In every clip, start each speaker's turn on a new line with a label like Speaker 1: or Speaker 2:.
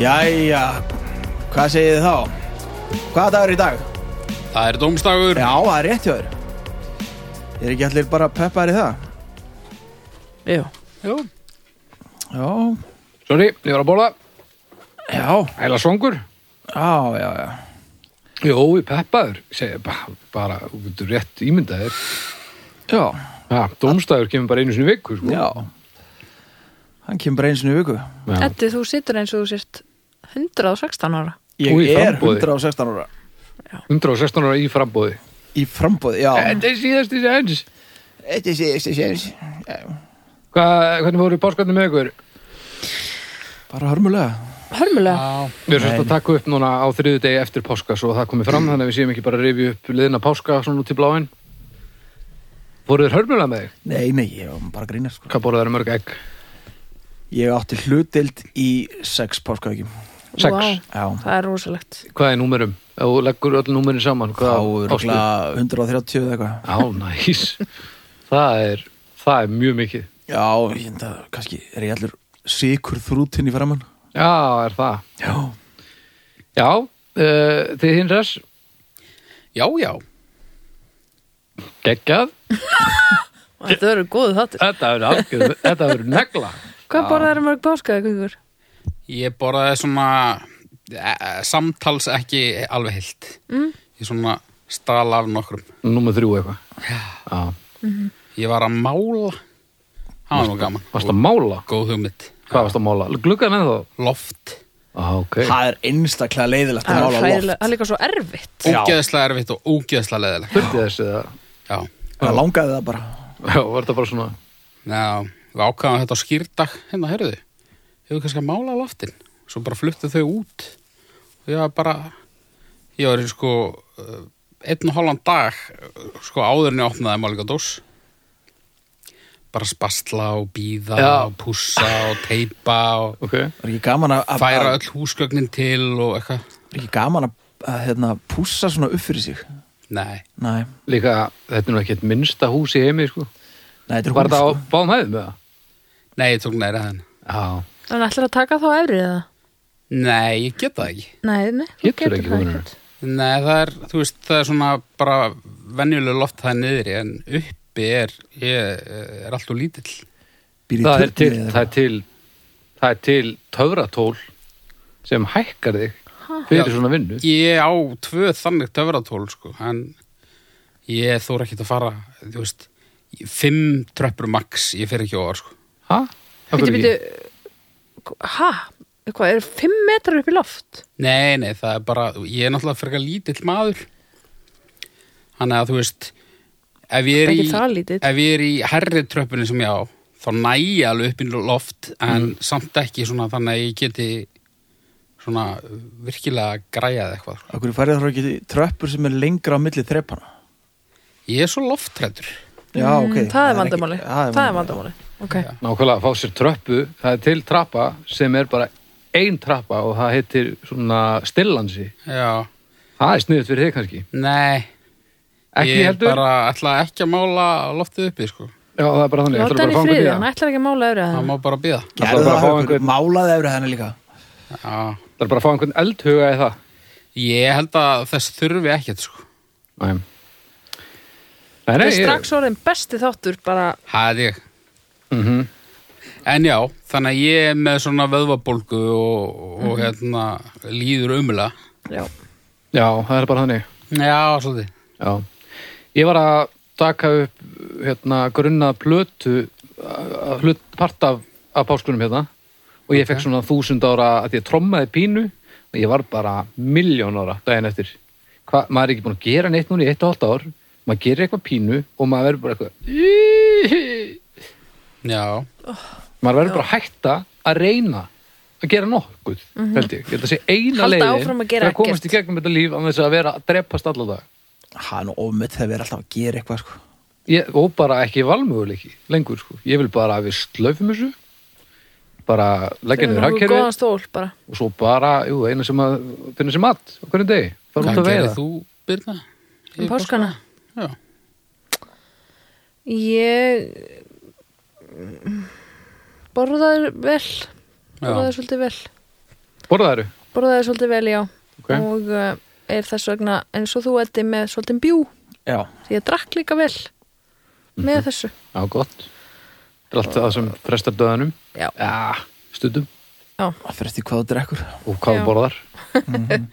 Speaker 1: Jæja, hvað segið þið þá? Hvaða dagur er í dag?
Speaker 2: Það er dómstagur
Speaker 1: Já, það er rétt hjá þér Er ekki allir bara peppar í það?
Speaker 3: Jú,
Speaker 2: Jú.
Speaker 1: Já,
Speaker 4: Sorry, ég var að bóla,
Speaker 1: já,
Speaker 4: heila svangur
Speaker 1: já, já, já
Speaker 4: Jó, ég peppaður Segja bara, bara þú getur rétt ímyndaðir
Speaker 1: Já,
Speaker 4: ja, Dómstæður kemur bara einu sinni í viku sko.
Speaker 1: já Hann kemur bara einu sinni í viku
Speaker 4: Já.
Speaker 3: Eddi, þú situr eins og þú sért 116 ára
Speaker 1: Ég
Speaker 4: Og í
Speaker 1: er
Speaker 4: framboði.
Speaker 1: 116 ára
Speaker 4: 116 ára í frambóði
Speaker 1: Í frambóð, já
Speaker 4: Þetta er síðasti sens
Speaker 1: Þetta sé, þetta sé, þetta sé
Speaker 4: Hva, Hvernig voru páskatni með ykkur?
Speaker 1: Bara hörmulega
Speaker 3: Hörmulega
Speaker 4: Við erum sérst að taka upp núna á þriðu degi eftir páska svo það komið fram, þannig að við séum ekki bara að rifja upp liðina páska svona út í bláin Voruður hörmulega með þig?
Speaker 1: Nei, nei, ég var bara að grínast sko.
Speaker 4: Hvað borðuður mörg egg?
Speaker 1: Ég átti hlutild í sex páskavækjum
Speaker 4: Sex.
Speaker 1: Já,
Speaker 3: Það er rosalegt
Speaker 4: Hvað er númerum? Ef þú leggur öll númerin saman
Speaker 1: þá
Speaker 4: hvað
Speaker 1: er
Speaker 4: páskir?
Speaker 1: 130 eða eitthvað
Speaker 4: Á, næs það, er, það er mjög mikið
Speaker 1: Já, ég enda, kannski er ég allur sikur þrútin í framann
Speaker 4: Já, er það
Speaker 1: Já,
Speaker 4: Já, uh, þið hinn res
Speaker 2: Já, já
Speaker 4: geggjað,
Speaker 3: Þetta verður góðu þáttur
Speaker 4: þetta verður algjörð þetta verður negla
Speaker 3: Hvað borðar er mörg páskaði, Guðgur?
Speaker 2: Ég borðaði svona eh, samtals ekki alveg heilt mm. Ég svona stala af nokkrum
Speaker 4: Númer þrjú eitthvað Já,
Speaker 2: Ég var að mála Það var nú gaman
Speaker 4: varst að mála?
Speaker 2: Góð hugmynd
Speaker 4: Hvað varst að mála? Gluggan ennþá?
Speaker 2: Loft
Speaker 4: Já, ok
Speaker 1: það er einstaklega leiðilegt að
Speaker 3: Það er
Speaker 1: mála
Speaker 3: hræðilega-
Speaker 1: loft
Speaker 3: það er líka svo erfitt
Speaker 1: Já.
Speaker 2: Ógeðslega erfitt og ógeðslega leðilega
Speaker 4: Þurfti þessi það?
Speaker 2: Já,
Speaker 1: Það langaði það bara
Speaker 4: Já, var þetta bara svona
Speaker 2: Já við ákvaðum þetta á skýrdag Hérna, heyrðu Hefur kannski að mála loftin Svo bara fluttu þau út Og ég var bara Ég var í sko eh, Einn og hálfan dag eh, Sko áður en ég opnaði málinga dós Bara spastla og býða
Speaker 4: Já.
Speaker 2: Og pússa og teipa Og
Speaker 4: Ok,
Speaker 1: Er ekki gaman að, að,
Speaker 2: færa
Speaker 1: að,
Speaker 2: öll húsgögnin til Og eitthvað
Speaker 1: er ekki gaman að, að hérna, pússa svona upp fyrir sig
Speaker 2: Nei,
Speaker 1: Nei,
Speaker 4: líka þetta er nú ekki eitt minnsta hús í heimi sko.
Speaker 1: nei þetta er
Speaker 4: Var
Speaker 1: hún
Speaker 4: þetta á
Speaker 1: sko.
Speaker 4: báðum hæðum með það?
Speaker 2: nei, ég tók neira þenn
Speaker 4: Já,
Speaker 3: En ætlar að taka þá efrið það?
Speaker 2: Nei, ég get það ekki
Speaker 3: Nei, nei, þú
Speaker 4: Getur ekki,
Speaker 3: það
Speaker 4: Guðrún.
Speaker 3: ekkert.
Speaker 2: Nei, það er, þú veist, það er svona bara venjuleg loft það er niðri en uppi er, ég er allt og lítill.
Speaker 1: Býr í
Speaker 4: það
Speaker 1: turni
Speaker 4: er, til,
Speaker 1: eða
Speaker 4: það, er til, það er til töfratól sem hækkar þig fyrir
Speaker 2: Já.
Speaker 4: svona vinnu
Speaker 2: Ég á tvö þannig töfratól, sko, en ég þóra ekkert að fara, þú veist, í fimm tröppur max, ég fer ekki á orð, sko.
Speaker 4: Hæ?
Speaker 3: Bíddu, bíddu, Ha? Hvað, er fimm metrar upp í loft?
Speaker 2: Nei, nei, það er bara, ég er náttúrulega frekar lítill maður. Þannig að, þú veist, ef ég er
Speaker 3: Ekki
Speaker 2: í...
Speaker 3: það lítið
Speaker 2: ef ég er í herri tröppunni sem ég á þá næ ég alveg upp í loft en
Speaker 4: Mm.
Speaker 2: samt ekki svona þannig að ég geti svona virkilega græjað eitthvað
Speaker 1: Af hverju færið þarf ekki tröppur sem er lengra á milli þrepana
Speaker 2: ég er svo loftrættur
Speaker 1: Já, ok
Speaker 3: Mm, Það er
Speaker 1: ekki-
Speaker 3: vandamáli Það er vandamáli Ok
Speaker 4: Nákvæmlega, fá sér tröppu, það er til trappa sem er bara ein trappa og það heitir svona stillansi
Speaker 2: já,
Speaker 4: Það er sniðut fyrir þig kannski
Speaker 2: nei
Speaker 4: Ekki
Speaker 2: ég
Speaker 4: heldur,
Speaker 2: bara ætla ekki að mála loftið uppi sko,
Speaker 4: já það er bara þannig ætlarðu
Speaker 3: Láta hann í
Speaker 4: bara að fanga
Speaker 3: friði,
Speaker 4: því
Speaker 3: hann
Speaker 4: að-
Speaker 3: ætlar ekki að mála öfrið
Speaker 2: það
Speaker 3: það
Speaker 2: má bara býða
Speaker 1: Gerðu
Speaker 4: Ætlaðu
Speaker 1: það
Speaker 4: bara að fá
Speaker 1: hjá ykkur,
Speaker 4: einhvern-
Speaker 1: málaði efrið henni líka
Speaker 2: já.
Speaker 4: Það er bara að fá einhvern eldhuga í það
Speaker 2: ég held að þess þurfi ekkert sko.
Speaker 4: Nei, nei,
Speaker 3: Það
Speaker 4: nei
Speaker 3: er
Speaker 4: ég-
Speaker 3: strax orðin besti þáttur bara
Speaker 2: það er ég
Speaker 4: Mhm.
Speaker 2: en já, þannig að ég er með svona vöðvabólgu og, og hérna líður umulega
Speaker 3: Já
Speaker 4: Já, það er bara þannig
Speaker 2: já, svolítið
Speaker 4: Já, ég var að taka upp hérna grunna plötu uh, hlut part af, af páskunum hérna og ég fekk svona þúsund ára að ég trommaði pínu og ég var bara miljón ára daginn eftir Hva, maður er ekki búin að gera neitt núna í eitt og halvt ár maður gerir eitthvað pínu og maður verður bara eitthvað
Speaker 2: já,
Speaker 4: maður verður bara að hætta að reyna að gera nokkuð held ég, ég held að sé eina
Speaker 3: Mhm. Halda
Speaker 4: leiðin
Speaker 3: áfram að gera
Speaker 4: til komast í
Speaker 3: ekkert.
Speaker 4: gegnum þetta líf á þess að vera að drepast alladag
Speaker 1: Það er nú ofmynd þegar við erum alltaf að gera eitthvað sko.
Speaker 4: ég, og bara ekki valmöguleiki lengur sko. ég vil bara að við slöfum þessu bara leggja niður hagkerfi
Speaker 3: Góðan stól bara
Speaker 4: og svo bara, jú, eina sem að finna sér mat á hvernig degi, fara út
Speaker 2: Hvað
Speaker 4: að
Speaker 2: gerir
Speaker 4: veiða
Speaker 2: þú, Birna?
Speaker 3: Um páskana
Speaker 2: Já.
Speaker 3: Ég Borðaði vel
Speaker 2: Já.
Speaker 3: Borðaði svolítið vel
Speaker 4: Borðaðaru?
Speaker 3: borðaði svolítið vel, já
Speaker 4: Ok.
Speaker 3: og uh, er þess vegna eins og þú ætti með svolítið bjú
Speaker 1: Já,
Speaker 3: því ég drakk líka vel
Speaker 4: Mhm.
Speaker 3: með þessu
Speaker 4: Já, gott. Þetta er allt það sem frestar döðanum.
Speaker 3: já,
Speaker 4: Já, stundum.
Speaker 1: það fyrir eftir hvað þú drekkur
Speaker 4: Og hvað
Speaker 3: Já.
Speaker 4: þú borðar.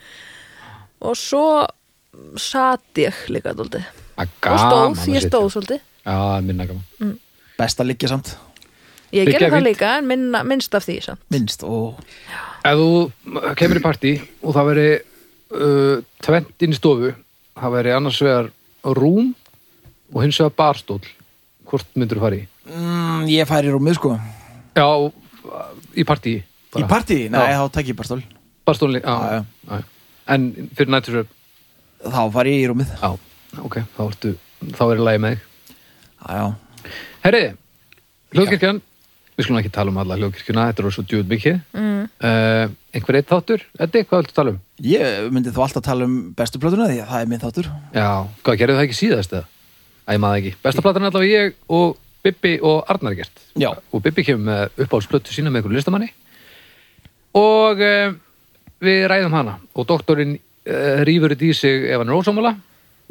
Speaker 3: og svo sat ég líka dóldi
Speaker 4: Það er
Speaker 3: og
Speaker 4: gaman að
Speaker 3: stóð, ég
Speaker 4: sitja.
Speaker 3: stóð svolítið
Speaker 4: Já, það er minna gaman.
Speaker 1: Best að liggja samt,
Speaker 3: ég
Speaker 4: Liggja
Speaker 3: gerði það
Speaker 4: fínt.
Speaker 3: líka, en minna, minnst af því samt.
Speaker 1: minnst og
Speaker 4: Ef þú kemur í partí og það veri uh, tvent inn í stofu, það veri annars vegar rúm og hins vegar barstól. Hvort myndur þú fara í?
Speaker 1: mm, ég færi rúmið sko
Speaker 4: Já, í partí.
Speaker 1: Í partí? Nei,
Speaker 4: Já.
Speaker 1: þá tek ég barstól
Speaker 4: Barstólni,
Speaker 1: Já,
Speaker 4: já. já. En fyrir nættisverð,
Speaker 1: Þá fari ég í rúmið
Speaker 4: já, ok, þá, ertu, þá er í lagi með þig.
Speaker 1: Já, já,
Speaker 4: Herri, hljóðkirkjan Við skulum ekki tala um alla hljóðkirkjuna Þetta eru svo djúð mikið mm. Einhver eitt þáttur, Eddi, hvað viltu tala um?
Speaker 1: ég myndi þú alltaf tala um bestu plötuna því að það er minn þáttur
Speaker 4: Já, hvað gerðu það ekki síðast eða? Æ, ég maður það ekki Besta platan er allavega ég og Bibbi og Arnar er gert
Speaker 1: Já.
Speaker 4: Og Bibbi kemur með uppáhaldsplötu sína með einhverjum listamanni Og uh, við ræðum hana Og doktorinn uh, rýfur þetta í sig ef hann er ósámála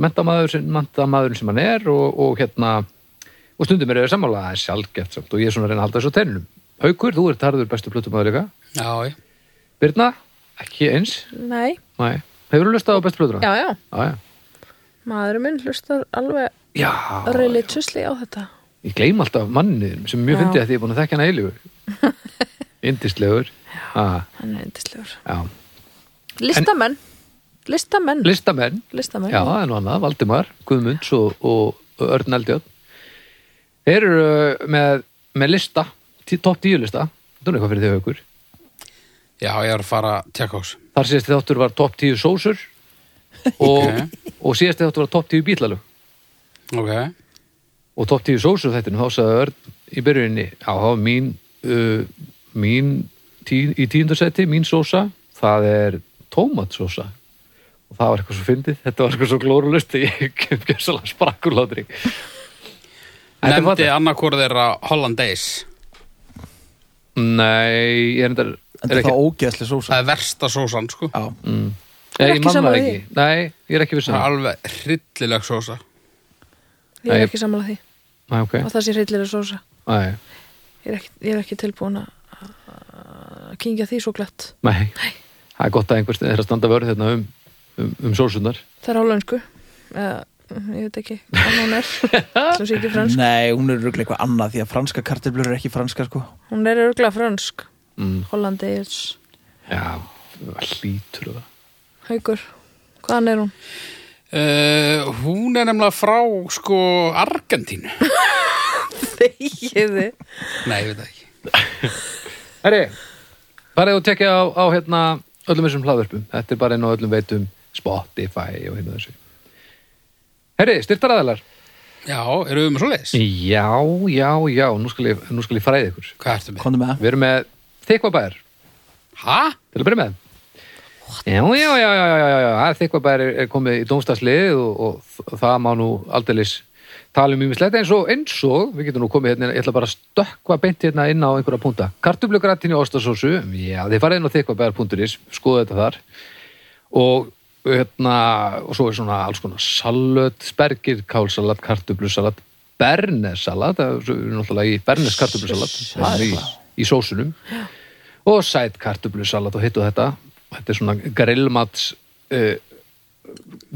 Speaker 4: Mentamæður sem, mentamæðurinn sem hann er og, og hérna og stundum er það sammála það er sjálfgeft samt og ég er svona að reyna að halda þessu á tennunum Haukur, þú ert harður bestu plötumæður líka
Speaker 2: Já, ég.
Speaker 4: Birna, ekki eins
Speaker 3: nei,
Speaker 4: Nei. Hefur þú lustað á bestu plötuna?
Speaker 3: já, já,
Speaker 4: Já, já.
Speaker 3: maðurinn minn hlustar alveg
Speaker 4: Já,
Speaker 3: religiously á þetta
Speaker 4: Ég gleym alltaf manniðinum sem mjög
Speaker 3: Já.
Speaker 4: fyndi að því ég er búin að þekka hana eilífur. Indislegur. Ah,
Speaker 3: hann er yndislegur
Speaker 4: já.
Speaker 3: listamenn, listamenn
Speaker 4: Listamenn.
Speaker 3: listamenn,
Speaker 4: Já, en og annað, Valdimar, Guðmunds og, og Örn Eldjörn. Þeir eru uh, með, með lista, tí- topp 10 lista. Þetta er eitthvað fyrir þau haukur.
Speaker 2: Já, ég er að fara tjekkás.
Speaker 4: Þar síðast þáttur var topp 10 sósur og, og síðast þáttur var topp 10 bílalög.
Speaker 2: Ok.
Speaker 4: og topp 10 sósu þetta þá sagði Örn í byrjunni já, þá er mín, uh, mín tí, í tíundarsæti, mín sósa það er tómatsósa og það var eitthvað svo fyndið þetta var eitthvað svo glórulust að ég kem gjössalega sprakkur látri Þetta er
Speaker 2: Nefndi
Speaker 4: fallegt.
Speaker 2: annarkor þeirra Hollandaise.
Speaker 4: Nei, ég er endar
Speaker 1: En það
Speaker 4: er ekki,
Speaker 1: er ógeðslega sósa Mm.
Speaker 2: Það er versta sósan, sko.
Speaker 1: Já,
Speaker 4: nei,
Speaker 3: er
Speaker 4: ég
Speaker 3: ekki
Speaker 4: man það
Speaker 3: sammála
Speaker 4: ekki Nei, ég er ekki viss um
Speaker 2: Það er
Speaker 4: það
Speaker 2: alveg hryllileg sósa.
Speaker 3: ég er
Speaker 4: Nei.
Speaker 3: ekki sammála því
Speaker 4: Nei, ok
Speaker 3: og það sé hryllir að sósa
Speaker 4: Nei,
Speaker 3: ég er ekki, ég er ekki tilbúin að- að kingja því svo glatt
Speaker 4: nei Það er gott að einhvers er að standa vörð hérna um, um, um sósunar
Speaker 3: það er hálönsku eða, ég veit ekki hvað hún er sem sé ekki fransk,
Speaker 1: Nei, hún er röglega eitthvað annað því að franska kartöflur er ekki franska sko
Speaker 3: hún er örgla fransk
Speaker 4: mm,
Speaker 3: hollandis,
Speaker 4: Já, hlýtur það
Speaker 3: haugur hvaðan er hún?
Speaker 2: Uh, hún er nefnilega frá, sko, Argentínu.
Speaker 3: þegiði
Speaker 2: Nei, ég veit það ekki.
Speaker 4: Herri, farið og tekja á, á hérna, öllum þessum hlaðvörpum. Þetta er bara inn á öllum veitum Spotify og hérna þessu. Herri, styrtaraðalar.
Speaker 2: Já, eru við með svo leis?
Speaker 4: Já, já, já, nú skal ég, nú skal ég fræði ykkur.
Speaker 2: Hvað ertu með?
Speaker 1: Komdu með það
Speaker 4: Við erum með þykvabæðar,
Speaker 2: Hæ?
Speaker 4: til að byrja með. Já, já, já, já, já, já, já, þykvabæðar er, er komið í dómstagslið og, og þ- það má nú aldeilis tala um ímislegt eins og eins og, við getum nú komið hérna, ég ætla bara að stökkva beint hérna inn á einhverja púnta. Kartublugratin í ostasósu, já, þið farið inn á þykvabæðar.is, skoðu þetta þar. og hérna, og svo er svona alls konar salat, spergir, kálsalat, kartublusalat, bernesalat, það er svo- við erum náttúrulega í bernes kartublusalat, það er í, í sósunum, og sæt kartublusalat og hitt og þetta, þetta er svona grillmats, uh,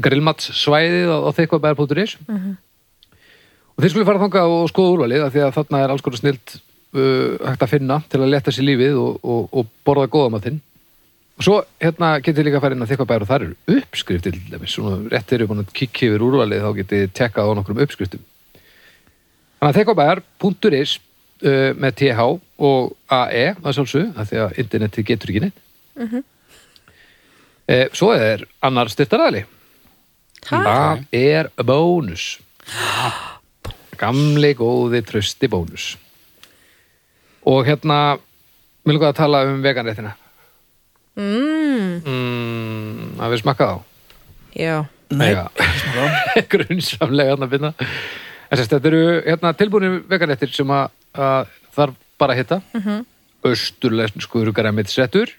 Speaker 4: grillmatssvæðið á, á þeikvabæðar.is og þeir skulle fara þangað og skoða úrvalið af því að þarna er alls konar snilt uh, hægt að finna til að leta sér lífið og, og, og borða góðamatinn Og svo hérna getið líka að fara inn að þykka bæra og þar eru uppskriftir til dæmis, svona rétt eru búin að kikki yfir úrvalið þá getið þið tekkað á nokkrum uppskriftum. Þannig að þekkabæjar.is uh, með TH og AE að sjálfsög, af því að internetið getur ekki neitt. Mm svo er annar styrtaraðli. Það er bónus. Gamli góði trösti bónus. Og hérna, mér lukkar að tala um veganréttina.
Speaker 3: mm,
Speaker 4: Mm, að við smakka þá
Speaker 3: já,
Speaker 1: Nei,
Speaker 4: grunnsamlega hérna að finna en sérst, þetta eru hérna, tilbúinir veganettir sem að, að þarf bara að hitta mm -hmm. austurlenskur græmitsrettur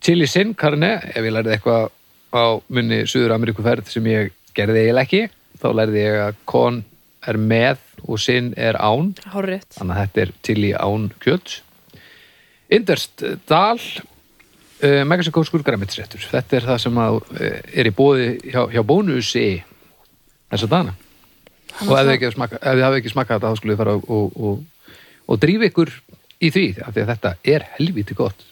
Speaker 4: Chili Sin Carne, ef ég lærði eitthvað á munni Suður Ameríku ferð sem ég gerði eiginlega ekki, þá lærði ég að kon er með og sin er án,
Speaker 3: Hárrétt.
Speaker 4: þannig að þetta er chili án kjöts. Inderst Dal, uh, Mexikóskur græmitisréttur, þetta er það sem að, uh, er í bóði hjá, hjá bónusi E þessa dana. Og ef þið ekki smakka- ef þið hafið ekki smakað þetta, þá skulle þið fara og, og, og, og drífa ykkur í því, af því að þetta er helvíti gott.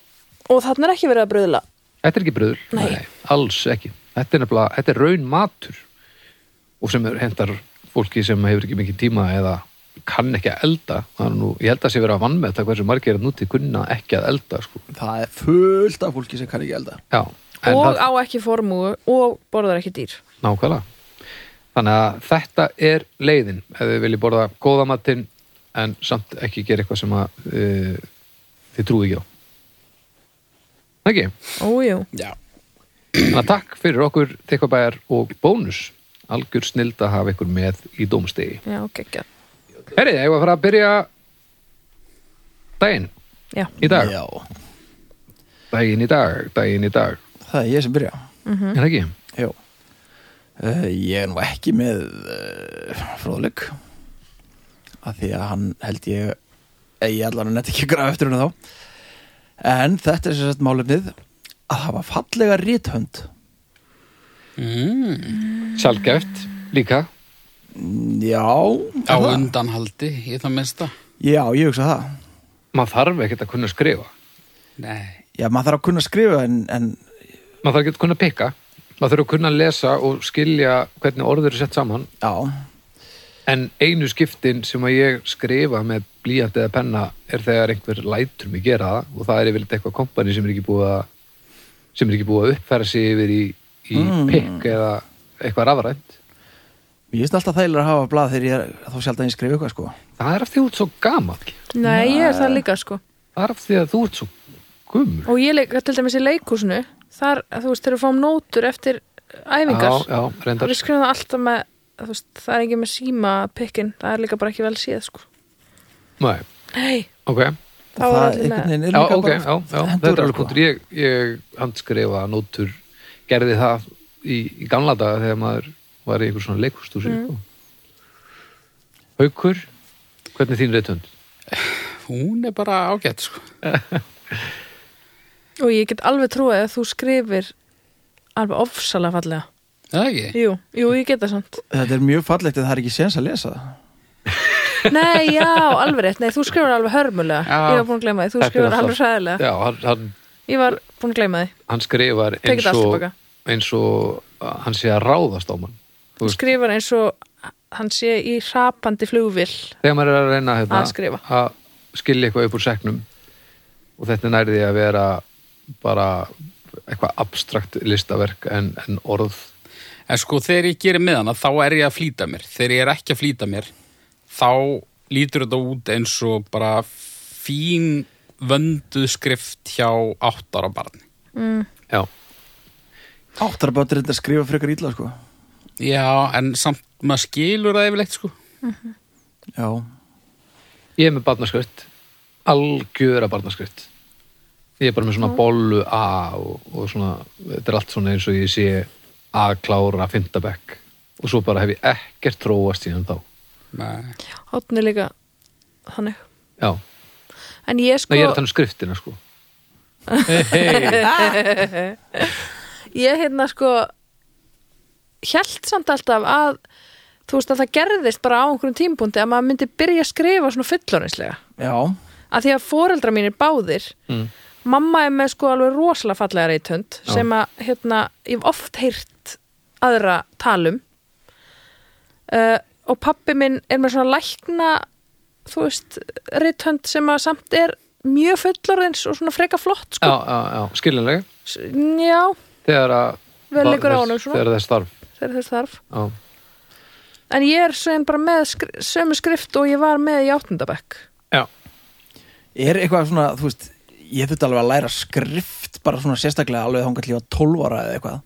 Speaker 3: Og þarna er ekki verið að bröðla.
Speaker 4: Þetta er ekki bröður,
Speaker 3: Nei.
Speaker 4: alls ekki Þetta er nefnilega, þetta er raun matur og sem er hendar fólki sem hefur ekki mikið tíma eða kann ekki að elda Það er nú, ég held að sé verið að vann með þetta hversu margir að núti kunna ekki að elda sko.
Speaker 1: Það er fullt af fólki sem kann ekki elda
Speaker 4: Já, en
Speaker 3: Og
Speaker 4: það,
Speaker 3: á ekki formúu og borðar ekki dýr.
Speaker 4: nákvæmlega Þannig að þetta er leiðin ef þið viljið borða góða matinn en samt ekki gera eitthvað sem að uh, þið trúið ekki á Ekki?
Speaker 3: Ójú.
Speaker 1: Já
Speaker 4: Þannig að takk fyrir okkur Tekkabæjar og bónus algjör snild að hafa ykkur með í dómstegi
Speaker 3: Já, geggja.
Speaker 4: Herrið, ég var að fara að byrja daginn
Speaker 3: Já.
Speaker 4: í dag
Speaker 1: Já,
Speaker 4: daginn í dag, daginn í dag
Speaker 1: það er ég sem byrja
Speaker 4: er það ekki?
Speaker 1: Jó uh, Ég er nú ekki með uh, fróðleik af því að hann held ég eh, ég allan að netta ekki að grafa eftir henni þá en þetta er sem sagt málefnið að hafa fallega rithönd
Speaker 2: Mm.
Speaker 4: Sjálfgæft, líka
Speaker 1: Já, er
Speaker 2: Á
Speaker 1: það?
Speaker 2: undanhaldi, ég það minnsta.
Speaker 1: já, ég hugsa það
Speaker 4: maður þarf ekkert að kunna skrifa
Speaker 2: Nei.
Speaker 1: Já, maður þarf að kunna skrifa en, en
Speaker 4: maður þarf ekkert að kunna pikka maður þarf að kunna lesa og skilja hvernig orður er sett saman
Speaker 1: já,
Speaker 4: en einu skiptin sem að ég skrifa með blíjandi eða penna er þegar einhver lætur mig gera það og það er yfirleitt eitthvað kompani sem er ekki búið að sem er ekki búið að uppfæra sig yfir í, í pikk eða eitthvað rafrænt
Speaker 1: ég veist alltaf þægilega að hafa blað þegar ég er þá sjálf að ég skrifa eitthvað sko
Speaker 4: það er af því að þú ert svo gamall
Speaker 3: Nei, ég er það líka sko.
Speaker 4: það er af því að þú ert svo gummur
Speaker 3: Og ég leik, til dæmis í leikúsinu, þar, þú veist, þegar við fáum nótur eftir æfingar,
Speaker 4: já, já, reyndar
Speaker 3: við skrifum það alltaf með, þú veist, það er ekki með síma pikkin, það er líka bara ekki vel síða sko.
Speaker 4: Nei,
Speaker 3: Nei,
Speaker 4: ok,
Speaker 3: þá er
Speaker 1: það
Speaker 3: allir
Speaker 1: einhvern
Speaker 3: með.
Speaker 1: veginn er
Speaker 4: já,
Speaker 1: líka
Speaker 4: ok,
Speaker 1: bara
Speaker 4: já, já þetta
Speaker 1: hendur,
Speaker 4: er alveg
Speaker 1: sko.
Speaker 4: punktur ég, ég handskrifa nótur gerði það í, í gamla daga þegar maður var í einhver svona leikustúsi mm. Haukur hvernig er þín reytund?
Speaker 2: Hún er bara ágætt, sko.
Speaker 3: Og ég get alveg trúið að þú skrifir alveg ofsalega fallega.
Speaker 2: Það er ekki?
Speaker 3: Jú, jú, ég get það samt.
Speaker 1: Þetta er mjög fallegt en það er ekki séns að lesa það
Speaker 3: Nei, já, alveg rétt. Nei, þú skrifur alveg hörmulega.
Speaker 2: Já.
Speaker 3: Ég var búin að gleyma því. Þú
Speaker 4: Þetta er
Speaker 3: skrifur
Speaker 4: alltaf-
Speaker 3: alveg sæðilega.
Speaker 4: Já, hann, hann,
Speaker 3: Ég var búin að gleyma því.
Speaker 4: hann skrifar
Speaker 3: Tekið
Speaker 4: eins
Speaker 3: allt
Speaker 4: og,
Speaker 3: tilbaka.
Speaker 4: eins og hann sé að ráðast á mann Þú
Speaker 3: Þú
Speaker 4: veist.
Speaker 3: skrifar eins og hann sé í hrapandi flugvill.
Speaker 4: þegar maður er að reyna hérna,
Speaker 3: Að skrifa.
Speaker 4: að skilja eitthvað upp úr seknum og þetta nærði að vera bara eitthvað abstrakt listaverk en, en orð
Speaker 2: En sko, þegar ég gerir með hana, þá er ég að flýta mér. Þegar ég er ekki að flýta mér, þá lítur þetta út eins og bara fín vönduð skrift hjá áttara barni.
Speaker 4: já,
Speaker 1: Áttar bara að reynda að skrifa frekar ítla sko
Speaker 2: Já, en samt maður skilur það yfirleitt, sko.
Speaker 1: Já,
Speaker 4: ég er með barnaskrift algjöra barnaskrift ég er bara með svona bollu A og, og svona, þetta er allt svona eins og ég sé að klára fynda bekk og svo bara hef ég ekkert tróast síðan þá
Speaker 2: Nei.
Speaker 3: Hátni líka þannig.
Speaker 4: já,
Speaker 3: En ég sko,
Speaker 4: Nei, ég er að tala um skriftina sko
Speaker 3: Ah. ég hérna sko, hjælt samt alltaf að, þú veist að það gerðist bara á einhverjum tímpúndi að maður myndi byrja að skrifa svona fullorðinslega.
Speaker 1: já
Speaker 3: að því að foreldra mínir báðir mamma er með sko alveg rosalega fallega reytönd
Speaker 4: Já.
Speaker 3: sem að hérna, ég hef oft heyrt aðra talum uh, og pappi minn er með svona lækna þú veist, reytönd sem að samt er mjög fullorðins og svona freka flott
Speaker 4: já,
Speaker 3: sko.
Speaker 4: já, já, skiljanlega
Speaker 3: S- já,
Speaker 4: þegar að
Speaker 3: Vel
Speaker 4: var-
Speaker 3: liggur á
Speaker 4: þess-
Speaker 3: honum svona.
Speaker 4: þegar þess þarf
Speaker 3: þegar þess þarf
Speaker 4: já.
Speaker 3: en ég er sem bara með skri sömu skrift og ég var með í áttundabekk
Speaker 4: Já.
Speaker 1: Er eitthvað svona, þú veist, ég þurfti alveg að læra skrift bara svona sérstaklega alveg þangar til ég var 12 ára eða eitthvað.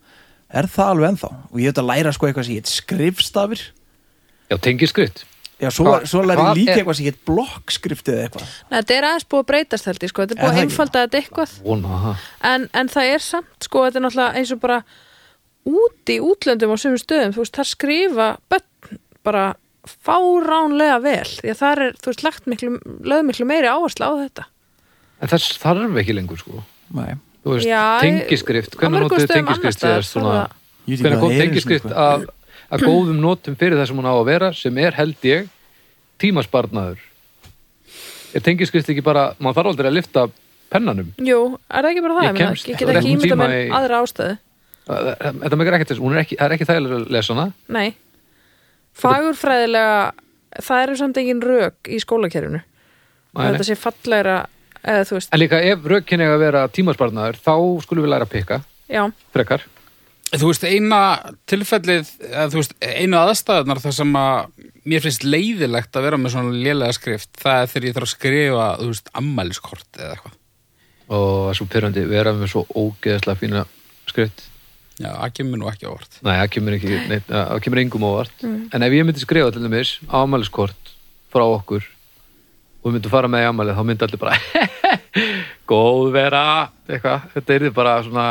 Speaker 1: Er það alveg ennþá? Og ég þurfti að læra sko eitthvað sem ég heit skrifstafir.
Speaker 4: já, tengi skrift
Speaker 1: Já, svo,
Speaker 4: Hvað-
Speaker 1: svo læri
Speaker 4: hvað
Speaker 1: ég líka
Speaker 4: er-
Speaker 1: eitthvað sem hétt blokkskriftið eða eitthvað
Speaker 3: Nei, þetta er aðeins búið að breytast held ég sko, þetta er
Speaker 1: Er
Speaker 3: búið að
Speaker 1: það ekki?
Speaker 3: einfalda þetta eitthvað
Speaker 4: vona það
Speaker 3: en, en það er samt sko, þetta er náttúrulega eins og bara úti í útlöndum á sömu stöðum, þú veist, þar skrifa börn bara fáránlega vel, því að þar er, þú veist, lagt miklu, lögð miklu meiri áherslu á þetta
Speaker 4: en þess þarf ekki lengur sko
Speaker 1: Nei,
Speaker 4: þú veist,
Speaker 3: Já, ég-
Speaker 4: tengiskrift,
Speaker 3: á
Speaker 4: hvernig
Speaker 3: mörgum
Speaker 4: notuðu
Speaker 3: stöðum annars
Speaker 4: tengiskrift
Speaker 3: staðar
Speaker 4: síðast svona
Speaker 3: þarf
Speaker 1: Ég veit ekki hvað
Speaker 4: hvernig kom
Speaker 1: það er einu
Speaker 4: tengiskrift
Speaker 1: sinni, sko.
Speaker 4: að, að góðum notum fyrir það sem hún á að vera sem er held ég tímasparnaður er tengiskrift ekki bara maður þarf aldrei að lifta pennanum
Speaker 3: Jú, er það ekki bara það?
Speaker 4: Ég
Speaker 3: meina,
Speaker 4: kemst
Speaker 3: ég
Speaker 4: ekki
Speaker 3: get ekki
Speaker 4: tíma
Speaker 3: ímynda með
Speaker 4: í-
Speaker 3: aðra ástæðu
Speaker 4: Það- það- þetta megar ekkert þess, hún er ekki, það er ekki þægilega að lesa hana
Speaker 3: Nei, fagurfræðilega það eru samt engin rök í skólakerfinu
Speaker 4: Nei,
Speaker 3: þetta sé fallegra eða þú veist,
Speaker 4: en líka ef rökinn eiga að vera tímasparnaður þá skulum við læra að pikka
Speaker 3: já,
Speaker 4: frekar
Speaker 2: Þú veist, eina tilfellið, eða, þú veist, einu aðstæðunar þar sem að mér finnst leiðilegt að vera með svona lélega skrift, það er þegar ég þarf að skrifa, þú veist, ammæliskort eða eitthvað.
Speaker 4: og það er svo pyrrandi, við erum með svo ógeðslega fína skrift
Speaker 2: Já, það kemur nú ekki á orð.
Speaker 4: Nei, það kemur, ekki, neitt, það kemur engum óvart En ef ég myndi skrifa til dæmis ámæliskort frá okkur og við myndum fara með í ámælið þá myndi allir bara góð vera eitthvað, þetta er bara svona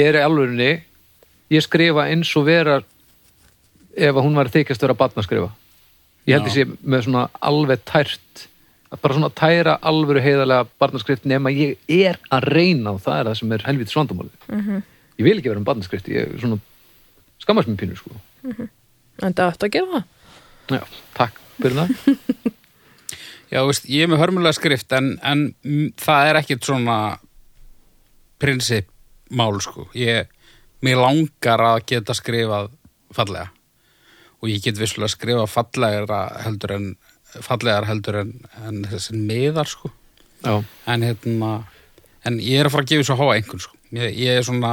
Speaker 4: ég er í alvörunni ég skrifa eins og vera ef að hún var þykjast vera batna að skrifa ég
Speaker 2: Já.
Speaker 4: held þessi með svona alveg tært að bara svona tæra alvöru heiðarlega barnaskrift nema ég er að reyna og það er það sem er helvítið svandamálið ég vil ekki vera með barnaskrift ég er svona skammast mér pínu sko
Speaker 3: en þetta ætti að gera það
Speaker 4: Já, takk fyrir það
Speaker 2: Já, þú veist, ég er með hörmulega skrift, en, en mm, það er ekkit svona prinsipmál, sko. Ég, mér langar að geta skrifað fallega og ég get vissulega skrifað fallegra heldur en, fallegar heldur en, en þessi meðar, sko.
Speaker 4: Já,
Speaker 2: en hérna en ég er að fara að gefa svo háa einhvern sko. ég, ég er svona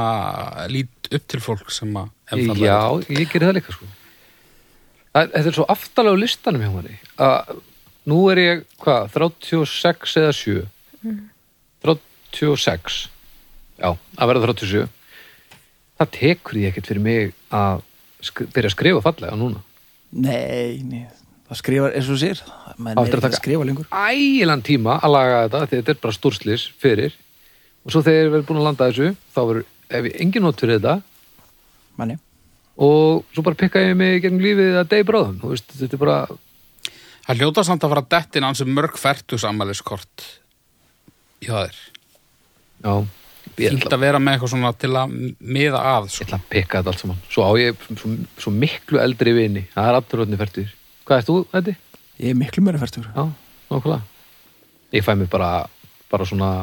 Speaker 2: lít upp til fólk sem að einfaldlega-
Speaker 4: já ég gerir það líka sko Það- Þetta er svo aftalega á listanum hjá manni að nú er ég, hvað, 36 eða 7 36 Já, að verða 37 Það tekur ég ekkert fyrir mig að sk- byrja að skrifa fallega núna
Speaker 1: nei, nei Það skrifar, eins og þú sér Menn
Speaker 4: Á
Speaker 1: er
Speaker 4: eftir að
Speaker 1: ekki að
Speaker 4: taka-
Speaker 1: skrifa lengur
Speaker 4: ægilan tíma að laga þetta því þetta er bara stórslis fyrir og svo þegar við erum búin að landa þessu þá verður, ef ég engin notur þetta
Speaker 1: Manni,
Speaker 4: og svo bara pikka ég mig gegn lífið að degi bráðum, þú veist, þetta er bara
Speaker 2: það hljóta samt að fara að dettin hans mörg færtus ammæliskort já þeir
Speaker 4: já, ég
Speaker 2: fínt
Speaker 4: ætla,
Speaker 2: að vera með eitthvað svona til að m- miða að
Speaker 4: ég
Speaker 2: sko.
Speaker 4: ætla að pikka þetta allt saman svo á ég svo, svo miklu eldri vini það er aftur hodni færtur, hvað ert þú þetta?
Speaker 1: ég er miklu meira færtur
Speaker 4: já, nokkulega ég fæ mér bara, bara svona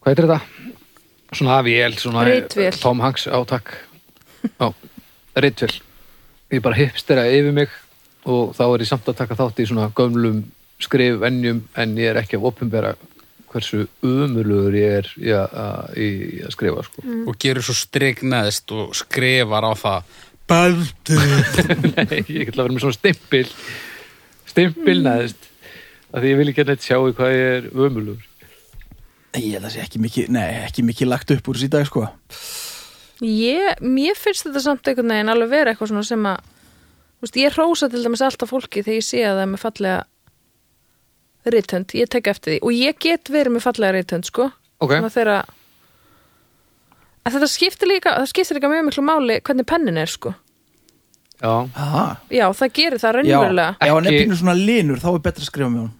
Speaker 4: hvað heitir þetta? svona vél, svona
Speaker 3: Ritvél.
Speaker 4: Tom Hanks, já takk já, ritvél ég bara hipstera yfir mig og þá er ég samt að taka þátt í svona gömlum skrifvenjum en ég er ekki að opinbera hversu umulugur ég er í að, að, í að skrifa sko.
Speaker 3: Mhm.
Speaker 2: og gerir svo striknaðist og skrifar á það Baldur
Speaker 4: Nei, ég ætla að vera með svona stimpil stimpil næðist af því ég vil ekki að neitt sjá í hvað ég er umulugur
Speaker 1: Ég held að sé ekki mikið, nei, ekki mikið lagt upp úr þessi í dag sko
Speaker 3: Ég, mér finnst þetta samt einhvern veginn alveg vera eitthvað svona sem að þú veist, ég hrósa til dæmis alltaf fólki þegar ég sé að það er með fallega rithönd, ég tek eftir því og ég get verið með fallega rithönd sko
Speaker 4: Ok.
Speaker 3: Svona þegar að En þetta skiptir líka, það skiptir líka mjög miklu máli hvernig pennin er sko
Speaker 4: já,
Speaker 1: Aha.
Speaker 3: Já, það gerir
Speaker 1: Já,
Speaker 3: það raunverulega
Speaker 1: ef hann er
Speaker 4: Ekki-
Speaker 1: pínu svona linur þá er betra að skrifa með hún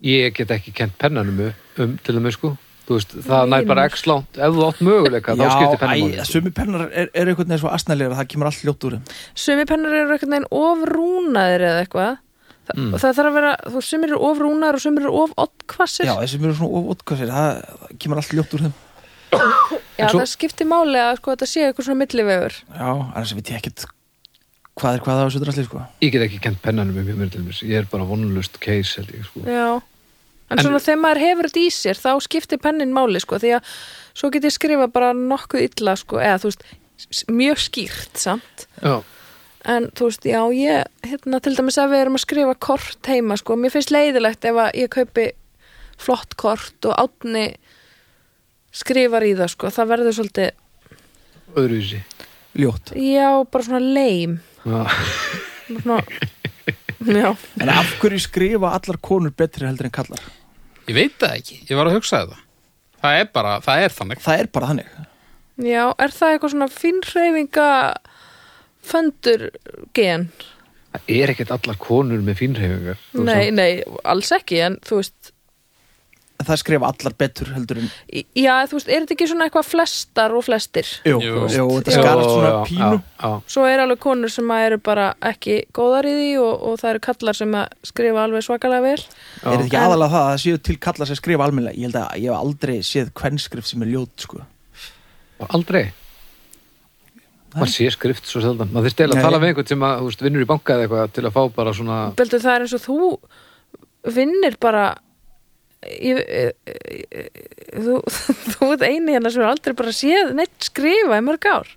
Speaker 4: ég get ekki kent pennanum um, um til þeim sko þú veist, það nær bara x langt ef þú átt möguleika, þá skiptir
Speaker 1: æ,
Speaker 4: pennanum sko.
Speaker 1: sumi pennar er, er einhvern veginn svo astnælega það kemur allt ljótt úr þeim
Speaker 3: Sumi pennar eru einhvern veginn ofrúnaðir eða eitthvað Þa,
Speaker 4: Mm.
Speaker 3: Það þarf að vera, þú sumir eru ofrúnaðir og sumir eru ofottkvassir
Speaker 1: Já, þessi mjög svona ótkvæðsir það, það kemur allt ljótt úr þeim
Speaker 3: Já,
Speaker 4: En svo-
Speaker 3: það skiptir máli að sko, þetta sé eitthvað svona millivegur.
Speaker 1: Já, annars veit ég ekkert hvað er hvað á þessu drasli sko
Speaker 4: ég get ekki kent pennanum um hjá mér til þeim ég er bara vonlust case held ég sko
Speaker 3: Já. En,
Speaker 4: En-
Speaker 3: svona þegar maður hefur þetta í sér, þá skiptir pennin máli, sko, því að svo get ég skrifa bara nokkuð illa, sko, eða þú veist, s- mjög skýrt samt.
Speaker 4: já,
Speaker 3: En þú veist, já, ég, hérna, til dæmis að við erum að skrifa kort heima, sko, mér finnst leiðilegt ef að ég kaupi flott kort og átni skrifar í það, sko, það verður svolítið,
Speaker 4: öðruvísi
Speaker 1: Ljótt
Speaker 3: já, bara svona leim,
Speaker 4: já.
Speaker 3: svona já,
Speaker 1: En af hverju skrifa allar konur betri heldur en kallar?
Speaker 2: Ég veit það ekki, ég var að hugsa þetta Það er bara, það er þannig
Speaker 1: Það er bara þannig
Speaker 3: já, er það eitthvað svona finnreifinga föndur gen?
Speaker 4: Það er ekkert allar konur með fínreifingar. þú veist
Speaker 3: Nei,
Speaker 4: það.
Speaker 3: nei, alls ekki, en þú veist,
Speaker 1: Það skrifa allar betur heldur en
Speaker 3: í- já, þú veist, er þetta ekki svona eitthvað flestar og flestir?
Speaker 1: Jú,
Speaker 2: Jú.
Speaker 1: jú þetta
Speaker 4: Jó,
Speaker 1: skarast svona
Speaker 4: já,
Speaker 1: pínu
Speaker 4: Já, já.
Speaker 3: Svo er alveg konur sem að eru bara ekki góðar í því og, og það eru kallar sem að skrifa alveg svakalega vel.
Speaker 1: Er þetta ekki
Speaker 3: En-
Speaker 1: aðalega það að það séu til kallar sem skrifa almennilega? Ég held að ég hef aldrei séð kvennskrif sem er ljót, sko.
Speaker 4: Aldrei maður sé skrift svo seldan maður þurfti eiginlega að
Speaker 1: Nei.
Speaker 4: tala við einhvern sem að, þú veist, vinnur í banka eða eitthvað til að fá bara svona
Speaker 3: Beldur, það er eins og þú vinnir bara ég, ég, ég, ég- þú, þú ert eini hérna sem er aldrei bara séð neitt skrifa í mörg ár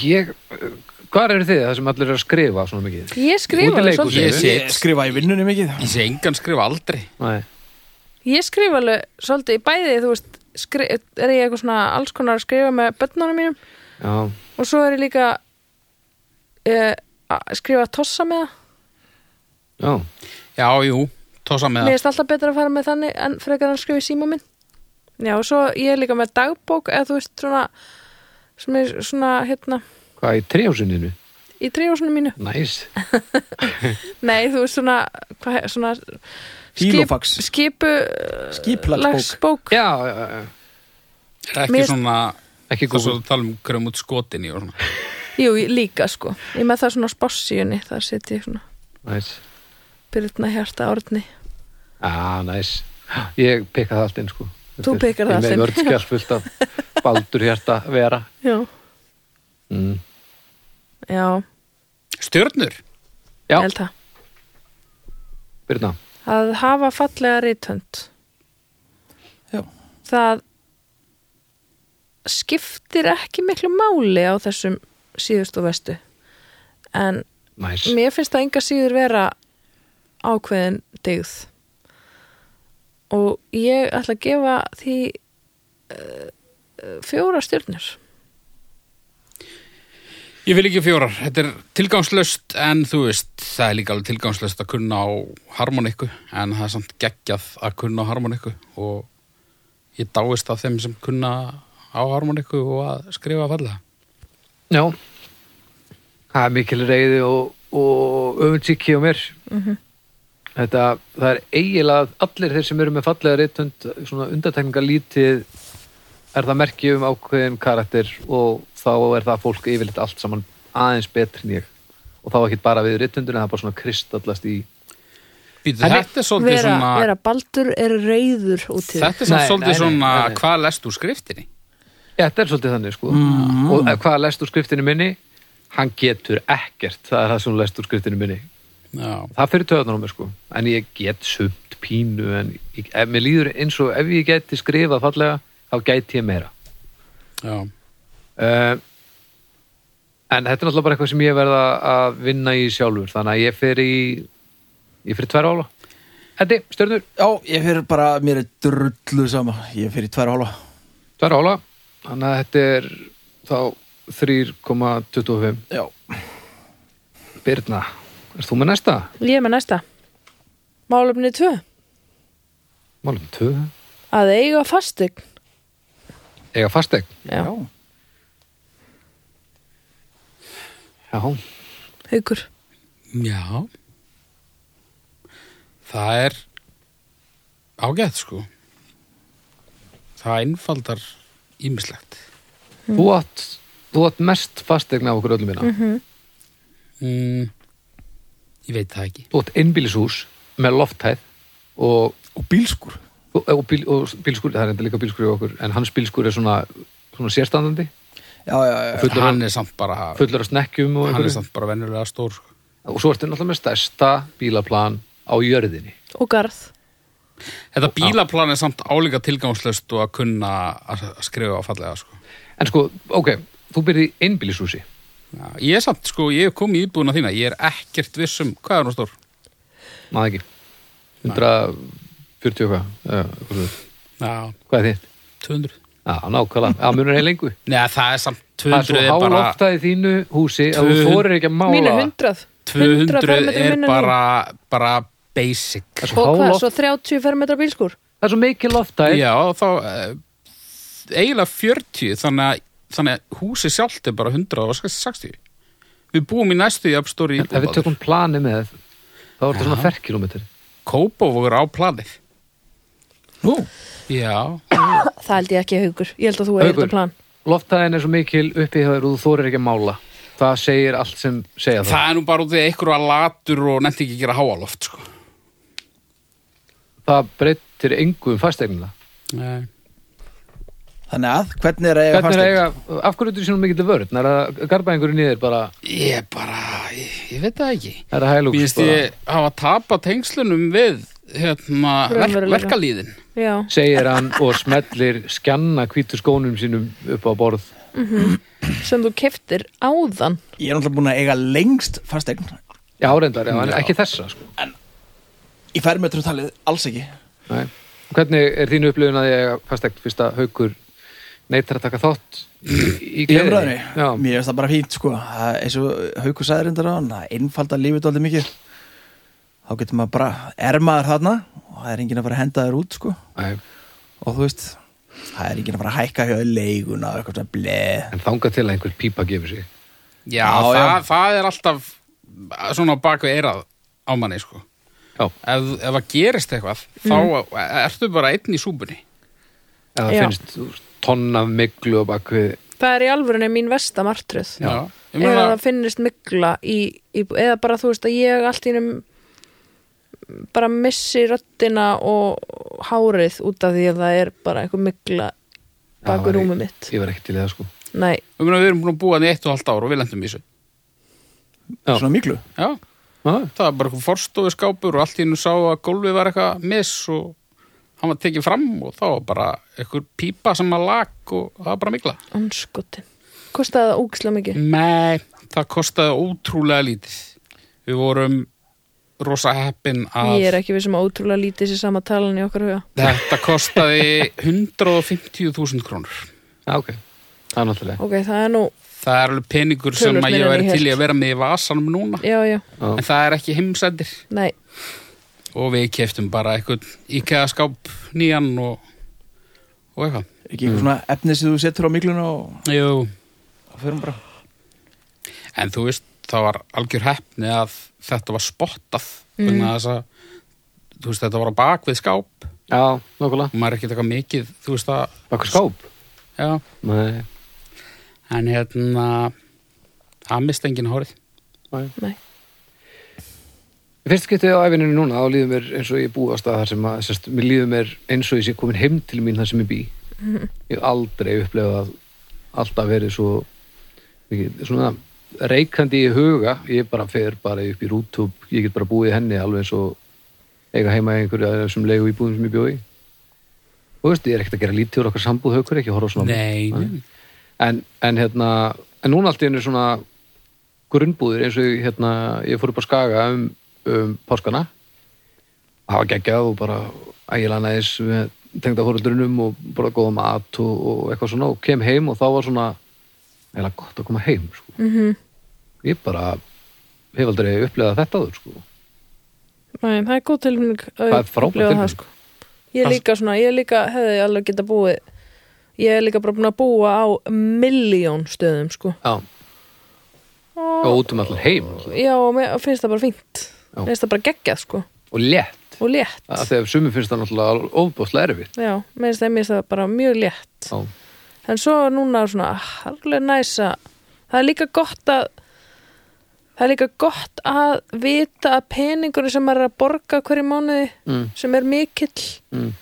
Speaker 4: ég, hvar eru þið það sem allir eru að skrifa svona mikið
Speaker 3: ég skrifa alveg
Speaker 4: Útileikhúsi.
Speaker 2: Ég
Speaker 3: svolítið
Speaker 2: sé,
Speaker 1: Ég skrifa í vinnunni mikið.
Speaker 2: ég sé engan skrifa aldrei
Speaker 4: Nei.
Speaker 3: ég skrifa alveg svolítið í bæði þú veist, skri, er ég eitthvað svona alls konar að skrifa með börnunum mínum
Speaker 4: já,
Speaker 3: og svo er ég líka eh, að skrifa tossa með það
Speaker 4: já,
Speaker 2: Já, jú, tósa með
Speaker 3: Mér
Speaker 2: það
Speaker 3: finnst alltaf betra að fara með þannig en frekar hann skrifa í síma minn. Já, og svo ég er líka með dagbók eða þú veist svona sem er svona hérna
Speaker 4: hvað í trefjósininu
Speaker 3: í tríjósinu mínu.
Speaker 4: næs,
Speaker 3: Nei, þú veist svona, hva, svona
Speaker 1: Hílófax.
Speaker 3: skipu
Speaker 1: Skipulagsbók.
Speaker 3: lagsbók.
Speaker 4: já, já, já.
Speaker 2: Er Ekki
Speaker 3: mér-
Speaker 2: svona,
Speaker 4: ekki
Speaker 2: það svo
Speaker 4: góð
Speaker 2: þú tala um hverjum út skotin í og svona
Speaker 3: Jú, ég- líka sko. Ég er með það svona á spossíunni, það setji ég svona
Speaker 4: næs,
Speaker 3: byrjutna hjarta árni.
Speaker 4: já, næs ég pekka það allt inn sko
Speaker 3: Þú pikkar það
Speaker 4: allt
Speaker 3: allt inn.
Speaker 4: inn ég með vörð fullt af baldur hérta vera
Speaker 3: Já.
Speaker 4: mm.
Speaker 3: Já,
Speaker 2: Stjörnur,
Speaker 4: já,
Speaker 3: ég held það.
Speaker 4: Birna,
Speaker 3: Að hafa fallega rítönd.
Speaker 1: Já.
Speaker 3: það skiptir ekki miklu máli á þessum síðustu og vestu en
Speaker 4: næs
Speaker 3: mér finnst það enga síður vera ákveðin dygð og ég ætla að gefa því uh, fjóra stjörnur
Speaker 2: ég vil ekki fjórar Þetta er tilgangslöst en þú veist Það er líka alveg tilgangslöst að kunna á harmoniku En það er samt geggjað að kunna á harmoniku Og ég dáist af þeim sem kunna á harmoniku Og að skrifa fallega
Speaker 4: Já Það er mikil reyði og, og öfundsíki á mér Þetta, það er eiginlega allir þeir sem eru með fallega reytund svona undartekninga lítið er það merki um ákveðin karakter og þá er það fólk yfirleitt allt saman aðeins betri en ég og þá ekki bara við reytundin það er bara svona kristallast í
Speaker 2: Býtu,
Speaker 4: En
Speaker 2: þetta er svolítið
Speaker 3: vera,
Speaker 2: svona
Speaker 3: vera baldur er reyður út í þér.
Speaker 2: Þetta er samt
Speaker 4: Nei,
Speaker 2: svolítið
Speaker 4: nei, nei,
Speaker 2: svona
Speaker 4: nei, nei.
Speaker 2: hvað lest úr skriftinni?
Speaker 4: Já, þetta er svolítið þannig sko mm. og hvað lest úr skriftinu minni hann getur ekkert, það er það sem hún lest úr skriftinu minni
Speaker 2: Já.
Speaker 4: það fyrir töðan á mér sko en ég get sumt pínu en ég, ef, mér líður eins og ef ég geti skrifað fallega þá gæti ég meira
Speaker 2: Já.
Speaker 4: uh, en þetta er náttúrulega bara eitthvað sem ég verða að vinna í sjálfur þannig að ég fer í ég fer í tverja ála Eddi, stjörnur,
Speaker 1: Já, ég fyrir bara, mér er drullu sama. Ég fyrir tvær og hálfa.
Speaker 4: tverja ála þannig að þetta er þá 3,25
Speaker 1: Já.
Speaker 4: Birna, erst þú með næsta?
Speaker 3: ég er með næsta málefni 2
Speaker 4: Málum 2
Speaker 3: að eiga fastegn
Speaker 4: Ega fastegn
Speaker 3: Já.
Speaker 4: Já,
Speaker 3: haukur
Speaker 2: Já. Það er ágætt sko. Það einfaldar ímislegt.
Speaker 4: þú átt þú átt mest fastegn af okkur öllum hérna. minna
Speaker 2: Mm. Ég veit það ekki.
Speaker 4: þú átt einbýlishús með lofthæð og,
Speaker 1: Og bílskur.
Speaker 4: og, og, bíl, og bílskur, það er enda líka bílskur í okkur, en hans bílskur er svona, svona sérstandandi,
Speaker 1: Já, já, já. já.
Speaker 4: Fullur-
Speaker 2: hann er samt bara
Speaker 4: fullur af snekkjum og,
Speaker 2: hann er
Speaker 4: einhverju.
Speaker 2: samt bara venjulega stór sko.
Speaker 4: og svo ertu náttúrulega með stærsta bílaplan á jörðinni
Speaker 3: og garð
Speaker 2: Þetta bílaplan er samt álíka tilgangslöst og að kunna að að skrifa á fallega sko.
Speaker 4: en sko, ok, þú byrði í einbýlishúsi
Speaker 2: Já. Ég er samt sko, ég hef komið í íbúðuna þína ég er ekkert viss um, hvað er hún stór?
Speaker 4: maður ekki 140 og hvað eh,
Speaker 2: Já,
Speaker 4: hvað er þitt?
Speaker 2: 200
Speaker 4: Já, nákvæmlega, já, munur heil lengu
Speaker 2: Nei, það er samt
Speaker 4: það er
Speaker 2: 200
Speaker 4: svo
Speaker 2: er
Speaker 4: há
Speaker 2: bara
Speaker 4: lofthæð í þínu húsi að þú
Speaker 2: Tvö-
Speaker 4: þorir ekki að mála
Speaker 3: mínu
Speaker 4: það.
Speaker 3: 100
Speaker 2: 200
Speaker 3: fermetra
Speaker 2: er
Speaker 3: minna en
Speaker 2: bara, bara basic
Speaker 4: Það er svo
Speaker 3: Og
Speaker 4: há
Speaker 3: hvað,
Speaker 4: loft-
Speaker 3: svo 30 fermetra bílskur?
Speaker 4: það er svo mikið loftæð
Speaker 2: Já, þá eh, eiginlega 40 þannig að, þannig að húsi sjálft er bara 160 Við búum í næstu jafnstóri
Speaker 4: ef við tökum plani með þá er þetta svona ferkilometri
Speaker 2: Kópavogur á planið
Speaker 1: Nú,
Speaker 2: Já,
Speaker 3: Það held ég ekki haugur, ég held að þú er
Speaker 4: Haukur.
Speaker 3: þetta plan
Speaker 4: loftæðin er svo mikil uppi hjá þér og þú þorir ekki að mála það segir allt sem segja það,
Speaker 2: það er nú bara út í einhverju að latur og nefnt ekki að gera háaloft sko.
Speaker 4: það, það breytir engu um fastegnina
Speaker 2: Nei.
Speaker 1: þannig að hvernig er að eiga
Speaker 4: Hvernig er að
Speaker 1: fasteign?
Speaker 4: eiga, af hverju þú sínum mikill vörn? Er að garba einhverju niður bara,
Speaker 2: Ég bara, ég, ég veit það ekki
Speaker 4: er að hælúks?
Speaker 2: Mér finnst ég hafa tapað tengslunum við hérna, verk,
Speaker 3: Raunveruleika.
Speaker 2: verkalýðin
Speaker 3: Já,
Speaker 4: Segir hann og smellir skjanna hvítu skónum sínum upp á borð.
Speaker 3: sem þú keftir áðan
Speaker 1: Ég er náttúrulega búin að eiga lengst fasteign
Speaker 4: Já, reyndar, já, en
Speaker 2: Já.
Speaker 4: ekki þessa, sko.
Speaker 1: Í fermetru talið alls ekki
Speaker 4: Nei. Hvernig er þín upplifun að ég fastegn fyrst að haukur neitar að taka þátt í, í
Speaker 1: Í
Speaker 4: gleðinni?
Speaker 1: umræðinni,
Speaker 4: Já,
Speaker 1: mér finnst það bara fínt sko Það er eins og hauku sæðrindar á hann Það einfaldar lífið aldrei mikið Þá getur maður bara ermaður þarna og það er enginn að fara að henda þér út sko
Speaker 4: Nei,
Speaker 1: og þú veist, það er enginn að fara að hækka hjá þér leiguna og eitthvað svona bleð
Speaker 4: en þanga til að einhver pípa gefur sig.
Speaker 2: Já,
Speaker 1: Já,
Speaker 2: það,
Speaker 1: já.
Speaker 2: það er alltaf svona á baku eirað á manni sko.
Speaker 4: Já,
Speaker 2: ef, ef það gerist eitthvað
Speaker 3: Mm.
Speaker 2: þá e, ertu bara einn í súbunni
Speaker 4: en það
Speaker 3: Já.
Speaker 4: finnst þú veist, tonn af myglu og bakvið.
Speaker 3: Það er í alvörunni mín versta martröð
Speaker 2: Já, ég
Speaker 3: eða
Speaker 2: meina
Speaker 3: það finnist mygla í, í, eða bara þú veist að ég allt í einum bara missi röddina og hárið út af því að það er bara einhver mygla bakur
Speaker 4: Já,
Speaker 3: rúmið mitt
Speaker 4: Ég var ekki til í það, sko.
Speaker 3: Nei,
Speaker 2: ég meina, við erum búin að búa hann í eitt og halvt ár og við lendum í þessu
Speaker 4: Já.
Speaker 1: svona miklu
Speaker 2: Já,
Speaker 4: Ah,
Speaker 2: það var bara eitthvað forstofu skápur og allt í hennu sá að gólfið var eitthvað miss og hann var tekið fram og þá var bara eitthvað pípa sem að lag og það var bara mikla
Speaker 3: anskotin Kostaði það ógislega mikið
Speaker 2: Nei, það kostaði ótrúlega lítið Við vorum rosa heppin
Speaker 3: Ég
Speaker 2: að
Speaker 3: er ekki við sem ótrúlega lítið sér sama talan í okkar huga
Speaker 2: þetta kostaði 150.000 krónur
Speaker 4: ok. Það er náttúrulega.
Speaker 3: Ok, það er nú,
Speaker 2: Það er alveg peningur sem
Speaker 3: Töluvert
Speaker 2: að ég
Speaker 3: meira en
Speaker 2: væri
Speaker 3: ég
Speaker 2: til í
Speaker 3: hélt.
Speaker 2: að vera með í vasanum núna
Speaker 3: já, já,
Speaker 2: en það er ekki heimsendir
Speaker 3: nei
Speaker 2: og við keftum bara eitthvað IKEA skáp nýjan og, og eitthvað
Speaker 1: ekki eitthvað svona efni sem þú setur á mikluna og
Speaker 2: Jú,
Speaker 1: og förum bara
Speaker 2: En þú veist, það var algjör heppni að þetta var spottað mm. þess að, þú veist, þetta var á bak við skáp og
Speaker 4: Já, nokkulega.
Speaker 2: maður er ekki taka mikið, þú veist að
Speaker 4: Bakvið skáp?
Speaker 2: já,
Speaker 4: Nei,
Speaker 2: en hérna það mist enginn hárið
Speaker 4: nei.
Speaker 3: Nei.
Speaker 4: Í fyrst getið á æfininu núna þá líður mér eins og ég búi á stað þar sem að sérst, mér líður mér eins og ég sé komin heim til mín þar sem ég bý ég hef aldrei upplefað alltaf verið svo mikið, svona reikandi í huga ég bara fer bara upp í rúttúb ég get bara búið í henni alveg eins og eiga heima í einhverju af þessum leigu íbúðum sem ég bjóði og veist, ég er ekkert að gera lítið úr okkar sambúð haukur, ekki horfa svona á mig.
Speaker 2: Nei,
Speaker 4: Nei. en, en hérna en núna allt í henni svona grunnbúðir eins og ég, hérna, ég fór upp á Skaga um, um páskana það var geggjað og bara ægilega næðis með tengda fóröldrunum og bara góða mat og, og eitthvað svona og kem heim og þá var svona eiginlega gott að koma heim sko. mm
Speaker 3: Mhm.
Speaker 4: -hmm. ég bara hef aldrei upplegað þetta áður sko.
Speaker 3: Nei, það er góð tilfinning að
Speaker 4: Það er frábær
Speaker 3: upplifa það,
Speaker 4: tilfinning.
Speaker 3: sko. Ég er
Speaker 4: Fast-
Speaker 3: líka svona, ég er líka hefði alveg geta búið Ég er líka bara búin að búa á miljón stöðum sko
Speaker 4: já og út um allan heim náttúrulega.
Speaker 3: Já, og mér finnst það bara fínt
Speaker 4: Já.
Speaker 3: Mér finnst það bara geggjað sko
Speaker 4: og létt
Speaker 3: og létt
Speaker 4: af því að sumum finnst það náttúrulega ofbúðslega erfitt
Speaker 3: Já, mér finnst það, mér finnst það bara mjög létt
Speaker 4: já,
Speaker 3: En svo er núna svona ah, alveg næsa Það er líka gott að Það er líka gott að vita að peningurinn sem maður er að borga hverju mánuði
Speaker 4: mm,
Speaker 3: sem er mikill
Speaker 4: mm.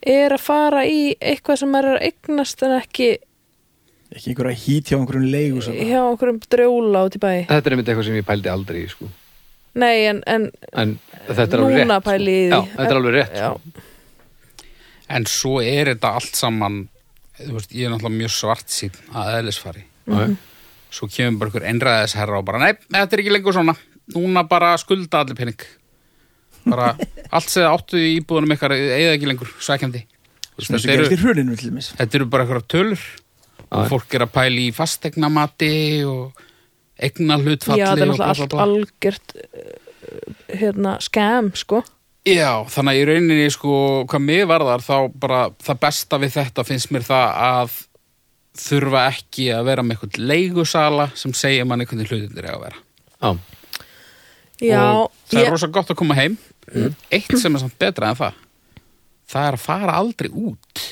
Speaker 3: er að fara í eitthvað sem maður er að eignast en ekki
Speaker 1: ekki einhverja hít hjá einhverjum leigu
Speaker 3: hjá einhverjum drjóla út í
Speaker 2: Eh.
Speaker 3: bæ
Speaker 4: þetta er einmitt eitthvað sem ég pældi aldrei í, sko.
Speaker 3: Nei, en, en
Speaker 4: en þetta er alveg rétt
Speaker 3: Núna pæli ég í
Speaker 4: sko.
Speaker 3: því.
Speaker 4: já, þetta er alveg rétt
Speaker 3: já,
Speaker 2: en svo er þetta allt saman þú veist, ég er náttúrulega mjög svart sín að eðlisfari
Speaker 4: mm.
Speaker 2: svo kemur bara einhver einræðisherra og bara nei, þetta er ekki lengur svona núna bara skulda allir pening bara allt sem þið áttu í íbúðunum ykkar eigið ekki lengur, sækjandi Þú veist,
Speaker 1: svona sem
Speaker 2: þetta eru-
Speaker 1: gerist í hruninu til mis
Speaker 2: Þetta eru bara eitthvað tölur og fólk er að pæla í fastegnamati og egna hlutfalli
Speaker 3: já, það er
Speaker 2: og bla, bla,
Speaker 3: náttúrulega allt
Speaker 2: bla.
Speaker 3: algjört eh, hérna, skam, sko
Speaker 2: Já, þannig að í rauninni sko, hvað mig varðar þá bara það besta við þetta finnst mér það að þurfa ekki að vera með einhvern leigusala sem segir manni hvernig hlutindir er að vera.
Speaker 4: Já.
Speaker 3: Já,
Speaker 2: og það
Speaker 3: ég-
Speaker 2: er rosa gott að koma heim. Eitt sem er samt betra en það, það er að fara aldrei út.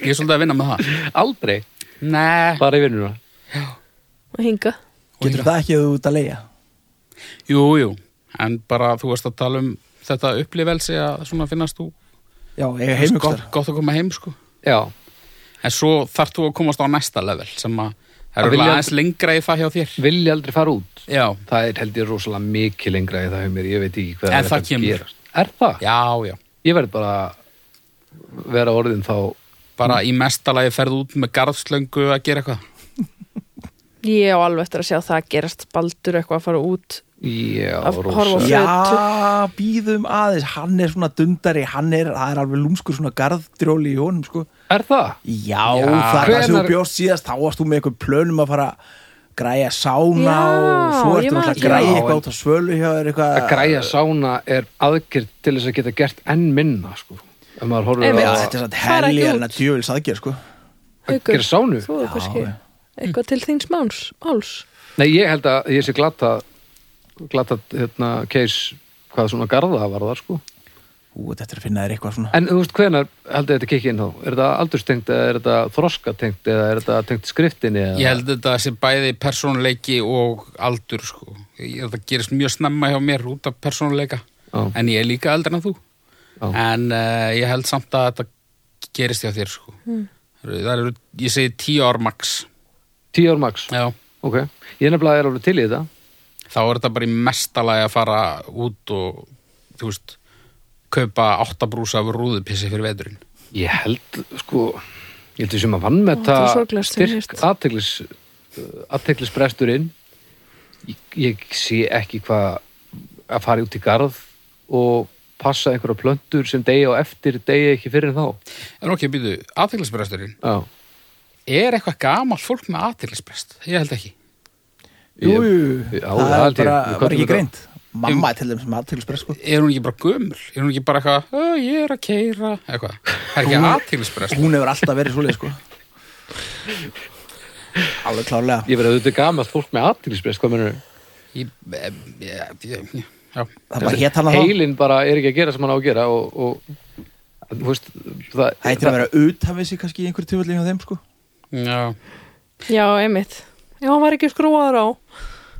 Speaker 2: Ég er svolítið að vinna með það.
Speaker 4: Aldrei,
Speaker 2: Nei.
Speaker 4: bara í vinnuna.
Speaker 3: og hinga
Speaker 1: Getur það ekki að þú út að leia?
Speaker 2: Jú, jú, en bara þú varst að tala um þetta upplifelsi að svona finnast þú
Speaker 1: Já, eiga heimugstæðar
Speaker 2: gott, gott að koma heim sko.
Speaker 4: Já,
Speaker 2: En svo þarf þú að komast á næsta level sem að það
Speaker 4: Að
Speaker 2: eru
Speaker 4: vilja-
Speaker 2: aðeins lengra í það hjá þér.
Speaker 4: vilja aldrei fara út.
Speaker 2: Já,
Speaker 4: Það er held ég rosalega mikið lengra í það hefur mér, ég veit ekki hvað
Speaker 2: En
Speaker 4: er
Speaker 2: það
Speaker 4: að
Speaker 2: kemur.
Speaker 4: gerast. Er það?
Speaker 2: já, já.
Speaker 4: Ég verð bara að vera orðin þá
Speaker 2: Bara í mesta lagi ferð út með garðslöngu að gera eitthvað.
Speaker 3: Ég á alveg eftir að sjá það gerast baldur eitthvað að fara út
Speaker 4: Já,
Speaker 3: Að horfa á
Speaker 4: rosalega.
Speaker 3: fjöll.
Speaker 1: Já, býðum aðeins, hann er svona dundari, hann er, það er alveg lúmskur svona garðdrjóli í honum, sko.
Speaker 4: Er það?
Speaker 1: Já,
Speaker 2: Já.
Speaker 1: það er það sem þú
Speaker 4: Hvenær-
Speaker 1: bjóst síðast, þá varst þú með eitthvað plönum að fara að græja sána
Speaker 3: Já,
Speaker 1: og svo
Speaker 3: ég
Speaker 1: ertu
Speaker 3: man
Speaker 1: náttúrulega að
Speaker 3: ekki.
Speaker 1: græja
Speaker 4: Já,
Speaker 1: eitthvað
Speaker 4: en-
Speaker 1: út á svölu hjá þér eitthvað.
Speaker 4: Að græja sána er aðgjörð til þess að geta gert enn minna, sko. Ef maður horfir
Speaker 3: Einmitt.
Speaker 1: Já,
Speaker 4: á
Speaker 1: þetta er svona
Speaker 3: Fara ekki
Speaker 1: helgi en
Speaker 3: út.
Speaker 1: að djöfils aðgjör, sko.
Speaker 4: að
Speaker 3: Haukur,
Speaker 4: gera sánu.
Speaker 3: Þú er kannski
Speaker 1: já.
Speaker 3: eitthvað til þíns máls, máls.
Speaker 4: Nei, ég held að ég sé glata, glata, hérna, case, hvað svona garða var það, sko.
Speaker 1: Ú, þetta er að finna þér eitthvað svona.
Speaker 4: En þú veist, hvenar heldur þetta kikki inn þá? Er þetta aldurstengt eða er þetta þroskatengt eða er þetta tengt skriftinni? Eða...
Speaker 2: Ég held þetta sé bæði persónuleiki og aldur sko. Ég held að það gerist mjög snemma hjá mér út af persónuleika.
Speaker 4: Já.
Speaker 2: En ég er líka eldri en þú.
Speaker 4: Já.
Speaker 2: En uh, ég held samt að þetta gerist hjá þér sko.
Speaker 4: Hmm.
Speaker 2: Mm. Það eru, ég segi tíu ár max.
Speaker 4: Tíu ár max?
Speaker 2: Já.
Speaker 4: Ok. Ég nefnilega er alveg til í þetta.
Speaker 2: þá er þetta bara í mestalagi að fara út og, þú veist, kaupa áttabrúsa af rúðupissi fyrir veturinn.
Speaker 4: Ég held, sko, ég held þessum að vann með
Speaker 3: Ó,
Speaker 4: það
Speaker 3: þetta er sorglegast,
Speaker 4: styrk
Speaker 3: ég
Speaker 4: aðteglis, aðteglisbresturinn. Ég, ég sé ekki hvað að fara út í garð og passa einhverja plöntur sem degi og eftir degi ekki fyrir en þá.
Speaker 2: En ok, býtu, aðteglisbresturinn,
Speaker 4: Já.
Speaker 2: er eitthvað gamalt fólk með aðteglisbrest? Ég held ekki.
Speaker 1: Jú, jú,
Speaker 4: Ég- já,
Speaker 1: það
Speaker 4: held
Speaker 1: er bara,
Speaker 4: ég. Við
Speaker 1: bara
Speaker 4: köllum
Speaker 1: ekki
Speaker 4: þetta-
Speaker 1: greint. Mamma er til þeim sem aðtjóðsbrest, sko.
Speaker 2: Er hún ekki bara gömul? Er hún ekki bara eitthvað, "Ö, ég er að keira, eitthvað? Það er ekki
Speaker 1: Hún-
Speaker 2: aðteglisbrest.
Speaker 1: Hún hefur alltaf verið svoleið, sko. Alveg klárlega.
Speaker 4: Ég verði auðvitað gamalt fólk með aðteglisbrest, hvað mennur?
Speaker 2: Ég, ég, ég, ég, eh, já.
Speaker 1: Það bara hétt hann að það.
Speaker 4: heilin bara er ekki að gera sem hann á að gera og, og þú veist, það,
Speaker 1: Það heitir að vera utan við sig kannski í einhverju tjóðlega hjá þeim, sko.
Speaker 2: Já,
Speaker 3: Já, einmitt. Já, hann var ekki skróaður á.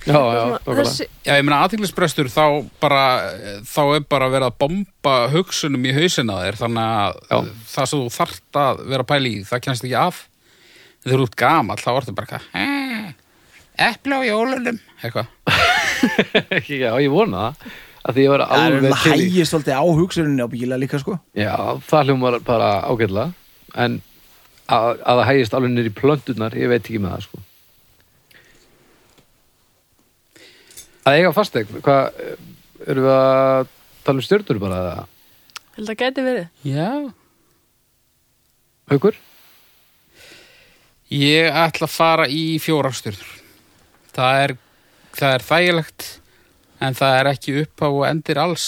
Speaker 4: já, já, þessi...
Speaker 3: Þessi,
Speaker 2: já, ég meina aðteglisbrestur þá bara, eh, þá er bara verið að bomba hugsunum í hausina á þér þannig að
Speaker 4: Já.
Speaker 2: það sem þú þart að vera að pæla í, það kennst ekki af En þegar þú ert gamall, þá ertu bara eitthvað "Eh, epli á jólunum eitthvað,
Speaker 4: já, ég vona það að því ég var
Speaker 1: Það er um
Speaker 4: alveg til í
Speaker 1: hægist svolítið á hugsuninni á bíla líka, sko.
Speaker 4: já, það hljómar bara ágætlega en að, að það hægist alveg niður í plöntunar, ég veit ekki með það sko. að eiga fastegn hvað, eh, erum við að tala um stjörnur bara eða?
Speaker 3: held að gæti verið.
Speaker 2: já
Speaker 4: haukur?
Speaker 2: ég ætla að fara í fjórastjörnur það er það er þægilegt en það er ekki upphá og endir alls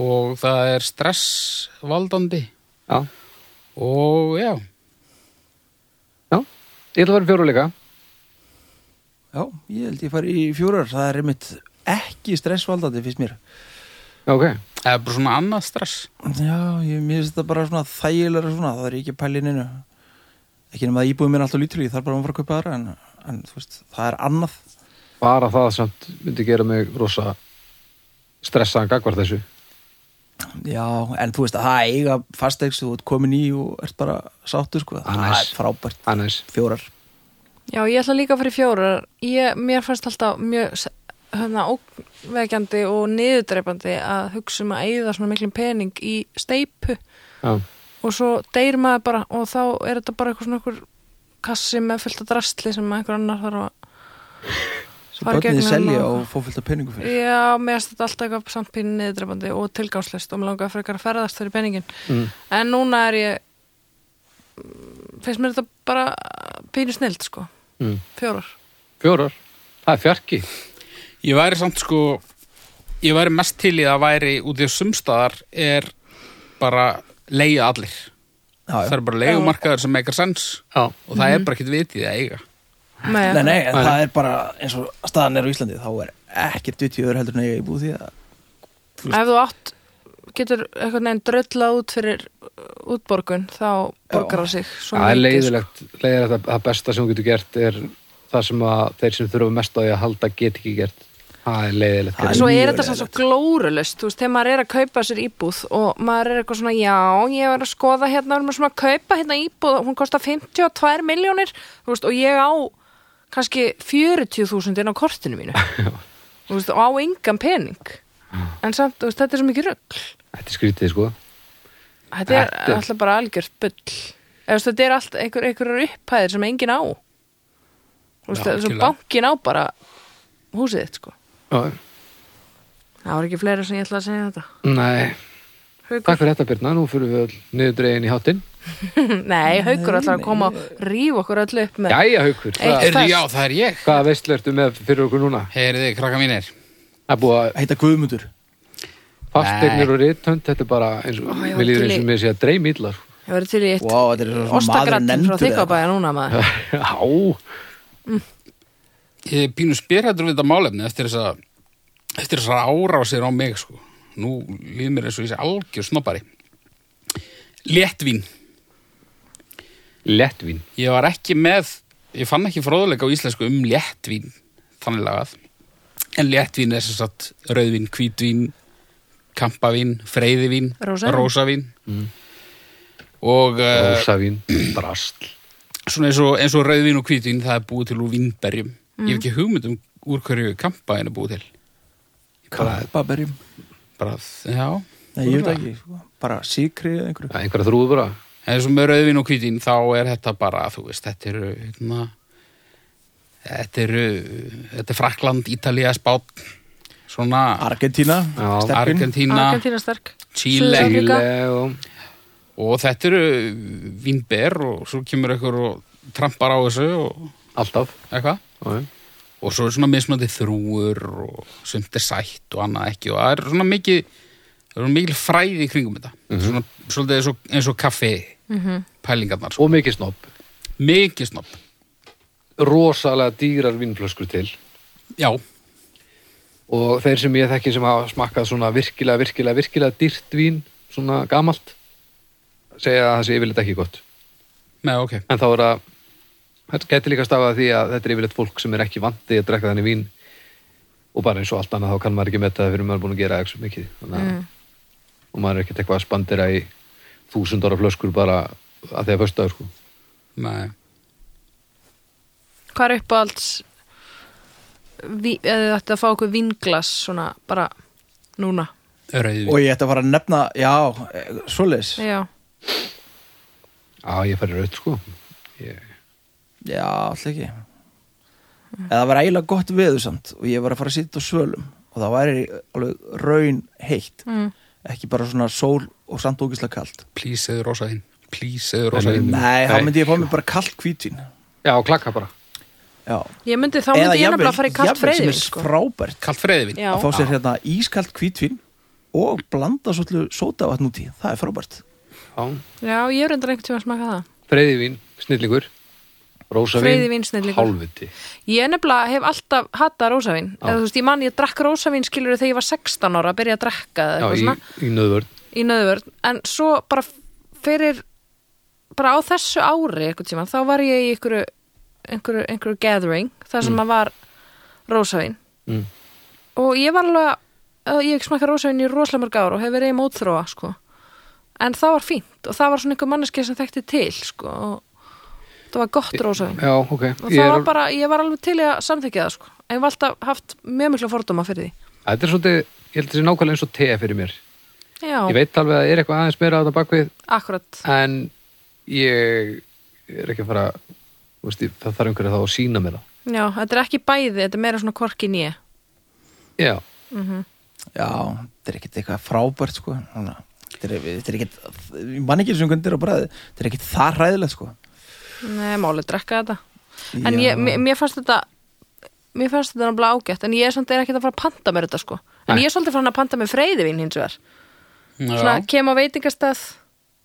Speaker 2: og það er stressvaldandi
Speaker 4: já,
Speaker 2: og já,
Speaker 4: já, ég ætla að vera fjóru líka
Speaker 1: Já, ég held ég fari í fjórar. Það er einmitt ekki stressvaldandi, finnst mér.
Speaker 4: já, ok,
Speaker 2: það er bara svona annað stress
Speaker 1: Já, ég mér finnst þetta bara svona þægilega svona, það er ég ekki að pæla í neinu. Ekki nema að íbúið mér er alltaf lítur, ég þarf bara að fara að kaupa aðra, en, en þú veist, það er annað.
Speaker 4: bara það samt myndi gera mig rosa stressaðan gagvart þessu
Speaker 1: Já, en þú veist að það eiga fastegs, þú ert komin í og ert bara sáttur, sko. Það
Speaker 4: Annars.
Speaker 1: er frábært.
Speaker 4: annars
Speaker 1: Fjórar.
Speaker 3: Já, ég ætla líka fyrir fjórar. Ég, mér fannst alltaf mjög s- hérna, óvekjandi og niðurdreipandi að hugsa um að eigða svona miklum pening í steipu
Speaker 4: já,
Speaker 3: og svo deyr maður bara og þá er þetta bara eitthvað svona okkur kassi með fullt af drastli sem einhver annar þarf að
Speaker 1: Svo
Speaker 3: Fara í
Speaker 1: börnið
Speaker 3: gegnum
Speaker 1: selja
Speaker 3: og-
Speaker 1: og fá fullt af penningu fyrir.
Speaker 3: Já, mér finnst þetta alltaf eitthvað samt pínu niðurdrefandi og tilgangslist og mér langaði frekar að ferðast fyrir peningin.
Speaker 4: Mm.
Speaker 3: En núna er ég, mm, finnst mér þetta bara pínu snilt, sko.
Speaker 4: Mm.
Speaker 3: fjórar
Speaker 4: Fjórar. Það er fjarki.
Speaker 2: Ég væri samt sko ég væri mest til í að væri út í að sumstaðar er bara leiða allir það
Speaker 1: Já, já.
Speaker 2: er bara leiðumarkaður sem meikar sens
Speaker 4: Já.
Speaker 2: og það er bara ekkert vitið að eiga
Speaker 3: Nei,
Speaker 1: Nei, nei, en
Speaker 4: Nei.
Speaker 1: það er bara eins og staðan er á Íslandi þá er ekkert dutt í öðru heldur en eiga í búð því að
Speaker 3: ef þú átt getur eitthvað neginn drölla út fyrir uh, útborgun þá borgar það sig svo
Speaker 4: Það er
Speaker 3: mikið,
Speaker 4: leiðilegt, leiðilegt að það besta sem þú getur gert er það sem að þeir sem þurfa mest á því að halda get ekki gert. Það er leiðilegt.
Speaker 1: Það
Speaker 3: En
Speaker 1: er
Speaker 4: fyrir
Speaker 3: svo
Speaker 4: mig.
Speaker 1: mjög
Speaker 3: er þetta samt svo
Speaker 1: leiðilegt.
Speaker 3: glórulust, þú veist, þegar maður er að kaupa sér íbúð og maður er eitthvað svona, já, ég var að skoða hérna, við erum svona að kaupa hérna íbúð, hún kostar 52 miljónir, þú veist, og ég á kannski 40.000 inn á kortinu mínu, þú veist, og á engan pening, en samt, þú veist, þetta er svo mikið rögl,
Speaker 4: Þetta er skrítið, sko.
Speaker 3: þetta er
Speaker 4: Þetta er-
Speaker 3: alltaf bara algjört bull, eða þú veist, þetta er allt einhver, einhverjar upphæðir sem engin á, þú veist,
Speaker 2: Já,
Speaker 3: þess að
Speaker 2: algjörlega.
Speaker 3: bankin á bara húsið þitt, sko,
Speaker 4: Já.
Speaker 3: það var ekki fleira sem ég ætla að segja þetta.
Speaker 4: Nei.
Speaker 3: Haukur.
Speaker 4: Takk fyrir þetta, Birna. Nú fyrir við öll niður dregin í hátinn.
Speaker 3: Nei, haukur ætlar að koma og rífa okkur öll upp með
Speaker 4: Jæja, haukur.
Speaker 3: Eitt.
Speaker 4: Hvað,
Speaker 2: Heyrðu,
Speaker 3: Fest.
Speaker 2: já, það er ég
Speaker 4: hvaða veistlu ertu með fyrir okkur núna?
Speaker 2: Heyrðu, krakka mínir
Speaker 4: Það er búið að
Speaker 1: heita Guðmundur
Speaker 4: fasteignir og rithönd, þetta er bara eins og,
Speaker 3: Ó, já,
Speaker 4: mér líður eins
Speaker 3: til
Speaker 4: og
Speaker 3: í-
Speaker 4: mér sé að dreim ítlar.
Speaker 3: Ég verði til í eitt
Speaker 1: Vá, þetta er svona maður
Speaker 3: ostagrattin frá
Speaker 1: nefndur eða
Speaker 3: þykabæja núna maður
Speaker 4: Já,
Speaker 2: Ég er pínu spyrhættur við þetta málefni eftir þess að eftir þess að árásir á mig sko. Nú líður mér eins og ég sé algjör snoppari Léttvín
Speaker 4: lettvín.
Speaker 2: Ég var ekki með, ég fann ekki fróðuleika á íslensku um léttvín, þannig lagað. En léttvín er sem sagt rauðvín, hvítvín, kampavín, freyðivín,
Speaker 3: Rósavín.
Speaker 2: rósavín. Og uh,
Speaker 4: Rósavín, drasl.
Speaker 2: svona eins og, eins og rauðvín og hvítvín það er búið til úr vínberjum. Ég hef ekki hugmynd um úr hverju kampavín er búið til.
Speaker 1: Kampaberjum
Speaker 2: Bara, já.
Speaker 1: Nei, ég veit það ekki, sko. bara síkri eða einhverju
Speaker 4: Það er einhverja þrúðbura.
Speaker 2: En eins og með rauðvín og hvítvín þá er þetta bara, þú veist, þetta eru, hérna, þetta eru, þetta er Frakland, Ítalía, Spán, svona...
Speaker 1: Argentína,
Speaker 4: Já.
Speaker 1: steppin
Speaker 2: Argentína,
Speaker 3: Argentína sterk
Speaker 2: Chile
Speaker 3: Suður-
Speaker 4: Íle
Speaker 3: Afrika.
Speaker 4: og...
Speaker 2: og þetta eru vínber og svo kemur ykkur og trampar á þessu og
Speaker 4: Alltaf.
Speaker 2: eitthvað
Speaker 4: Já, já.
Speaker 2: og svo er svona mismunandi þrúur og sumt er sætt og annað ekki og það er svona mikið það er svona mikil fræði í kringum þetta svona, svolítið eins og, eins og kaffi pælingarnar sko.
Speaker 4: Og mikið snopp.
Speaker 2: mikið snopp
Speaker 4: Rosalega dýrar vinnflöskur til.
Speaker 2: já,
Speaker 4: Og þeir sem ég þekki sem hafa smakkað svona virkilega, virkilega, virkilega dýrt vín, svona gamalt, segja að það sé yfirleitt ekki gott.
Speaker 2: með ok
Speaker 4: En þá er að, þetta gæti líka stafað af því að þetta er yfirleitt fólk sem er ekki vandi að drekka þannig vín og bara eins og allt annað þá kann maður ekki metta það fyrir maður er búin að gera eitthvað mikið. Þannig að,
Speaker 3: Mm.
Speaker 4: og maður er ekkert eitthvað að spandera í þúsund ára flöskur bara að því að föstu sko.
Speaker 2: Nei.
Speaker 3: Hvað er uppáhalds ví- eða þetta að fá okkur vinglas svona bara núna
Speaker 1: Og
Speaker 2: rauðvín
Speaker 1: ég ætti að fara að nefna, já, eh, svoleiðis
Speaker 3: Já,
Speaker 4: Já, ég færi raut sko. Ég,
Speaker 1: Já, alltaf ekki En það var eiginlega gott veður samt og ég var að fara að sitja á svölum og það væri alveg raun heitt
Speaker 3: mm.
Speaker 1: ekki bara svona sól og samt ógislega kalt
Speaker 2: please eður rosa þín please eður rosa þín
Speaker 1: Nei, þá
Speaker 4: Nei.
Speaker 1: myndi ég fá mig bara kalt hvítin
Speaker 4: já, klakka bara.
Speaker 1: Já,
Speaker 3: Ég myndi þá myndi ég nefnilega að fara í kalt
Speaker 1: jafnvel sem
Speaker 3: freyðin
Speaker 1: er
Speaker 3: sko.
Speaker 1: frábært
Speaker 2: kallt freyðivín
Speaker 3: Já,
Speaker 1: að fá sér hérna ískalt hvítvin og blanda svolítið sótavatn út í það er frábært
Speaker 4: Já,
Speaker 3: já, ég er reyndar einhvern tíma að smaka það
Speaker 4: freyðivín, snillingur, rósavín,
Speaker 3: Freyðivín snillingur
Speaker 4: hálfviti.
Speaker 3: Ég nefnilega hef alltaf hatað rósavín
Speaker 4: Já.
Speaker 3: eða þú veist, ég man ég drakk rósavín skilur þegar ég var 16 ára að byrja að drekka eða
Speaker 4: Já,
Speaker 3: eitthvað
Speaker 4: í,
Speaker 3: svona.
Speaker 4: í nöðvörn.
Speaker 3: í nöðvörn en svo bara fyrir bara á þessu ári einhvern tímann þá var ég í einhverju einhverju, einhverju gathering þar sem mm. var rósavín
Speaker 4: Mm.
Speaker 3: og ég var alveg að ég smakka rósavín í rosalega mörg ár og hef verið í mótþróa sko en það var fínt og það var svona einhver manneskja sem þekkti til sko og það var gott rósavín
Speaker 4: Já, ok.
Speaker 3: og
Speaker 4: Ég
Speaker 3: það
Speaker 4: er-
Speaker 3: var bara, ég var alveg til í að samþykja það sko en ég var alltaf haft mjög mikla fordóma fyrir
Speaker 4: Þetta er svolítið, ég held að þetta sé nákvæmlega eins og te fyrir mér.
Speaker 3: því já,
Speaker 4: Ég veit alveg að það er eitthvað aðeins meira á þetta bakvið
Speaker 3: akkurat
Speaker 4: en ég er ekki að fara þú veist, ég- það þarf einhverja þá að sína mér það.
Speaker 3: já, þetta er ekki bæði, þetta er meira svona korki nýja
Speaker 4: Já,
Speaker 1: Já, þetta er ekkert eitthvað frábært sko Þannig að Þetta er, þetta er ekkert, ég man ekki sem kundir á bræði Þetta er ekkert það hræðilegt sko
Speaker 3: Nei, málið drekka þetta en
Speaker 1: Já.
Speaker 3: ég, mér, mér fannst þetta mér fannst þetta náttúrulega ágætt en ég er samt er ekkert að fara að panta mér þetta sko en
Speaker 4: Nei.
Speaker 3: ég er svolítið farin að panta mér freyðivin hins vegar svona
Speaker 2: Já,
Speaker 3: kem á veitingastað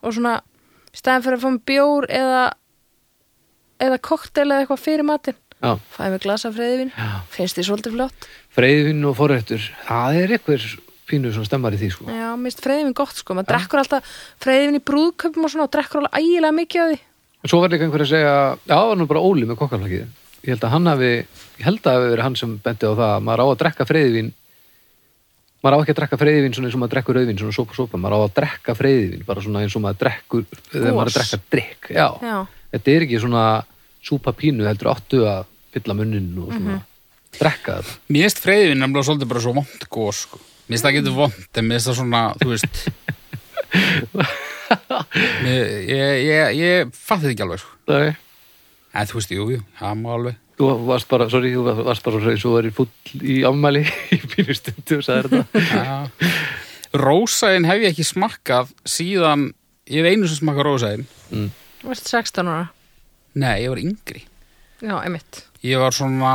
Speaker 3: og svona í staðin fyrir að fá mér bjór eða eða koktel eða eitthvað fyrir matinn
Speaker 4: Já,
Speaker 3: fæði mér glasa freyðivin, finnst því svolítið flott
Speaker 4: freyðin og forrættur, það er eitthvað pínu sem stemmar í því sko.
Speaker 3: já, mér finnst freyðivin gott sko maður drekkur alltaf freyðivin í brúðköpum og svona og drekkur alveg ægilega mikið af því
Speaker 4: En svo var líka einhver að segja, já, það var nú bara Óli með kokkaflakið. Ég held að hann hafi, ég held að hafi verið hann sem benti á það, að maður á að drekka freyðivin, maður á ekki að drekka freyðivin svona eins og maður drekkur rauðvin, svona sopa sopa, maður á að drekka freyðivin, bara svona eins og maður drekkur, þegar maður er að drekka drikk, já.
Speaker 3: já,
Speaker 4: Þetta er ekki svona súpa pínu, heldur áttu að fylla munnin og svona drekka þetta.
Speaker 2: mér finnst freyðin nefnilega svolítið bara svo vond gos, sko. Mér finnst það getur vond, en mér finnst það svona, þú veist, mér, ég, ég, ég fatti ekki alveg, sko.
Speaker 4: Nei.
Speaker 2: En þú veist, jú, jú, það má alveg.
Speaker 4: Þú varst bara, sorry, þú varst bara svo eins og verið fúll í afmæli í pínu stundu og sagði þetta.
Speaker 2: Já. Rósaðin hef ég ekki smakkað síðan, ég hef einu sem smakkað rósaðin.
Speaker 3: þú veist 16 ára
Speaker 2: Nei, ég var yngri.
Speaker 3: já, emitt
Speaker 2: Ég var svona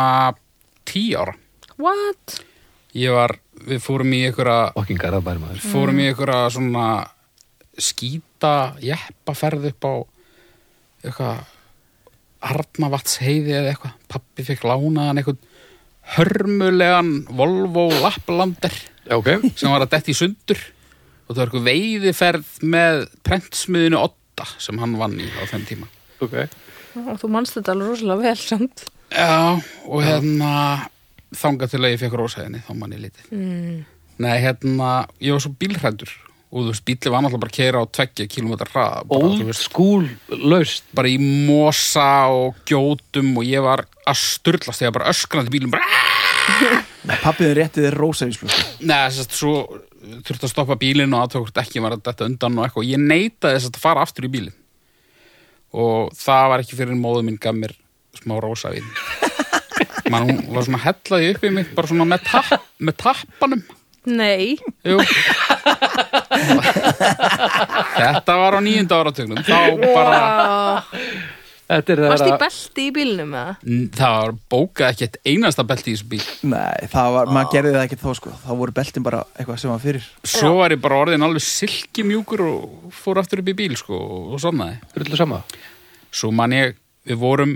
Speaker 2: tí ára.
Speaker 3: what?
Speaker 2: Ég var, við fórum í einhverja
Speaker 4: Okkingar að bæri maður.
Speaker 2: fórum í einhverja svona skýta jeppaferð upp á eitthvað Arnavatnsheiði eða eitthvað pappi fekk lánaðan einhvern hörmulegan Volvo Lapplander
Speaker 4: Já, ok.
Speaker 2: sem var að detti í sundur og það var eitthvað veiðiferð með prentsmiðinu Otta sem hann vann í á þeim tíma
Speaker 4: Ok.
Speaker 3: og þú manst þetta alveg rosalega vel samt
Speaker 2: Já, og hérna þangað til að ég fekk rósaðinni, þá mann ég litið. Mm. Nei, hérna, ég var svo bílhrættur og þú veist, bíli var náttúrulega bara að keira á 20 km hraða. Bara, þú
Speaker 4: old school laust
Speaker 2: bara í mosa og gjótum og ég var að sturlast, ég var bara öskrandi í bílum, bara aah!
Speaker 1: Pappiðin rétti þér rósavísflösku
Speaker 2: Nei, þess að svo þurfti að stoppa bílinn og aðtökur ekki var að detta undan og eitthvað. Ég neitaði þess að fara aftur í bílinn. Og það var ekki fyrir en móðu mín gaf mér smá rosa við. Man, hún var svona hellaði upp í mig, bara svona með, tapp, með tappanum.
Speaker 3: nei,
Speaker 2: Jú. Þetta var á nýjunda áratugnum. Þá bara,
Speaker 4: Þetta er
Speaker 3: varst í
Speaker 4: það
Speaker 3: belti í bílnum eða?
Speaker 2: það var bókað ekki eitt einasta belti í þessu bíl.
Speaker 1: Nei, það var, maður gerði það ekki þá sko Þá voru beltin bara eitthvað sem var fyrir
Speaker 2: Svo var ég bara orðin alveg silkimjúkur og fór aftur upp í bíl, sko, og sonnaði.
Speaker 4: er öllu sama
Speaker 2: svo man ég, við vorum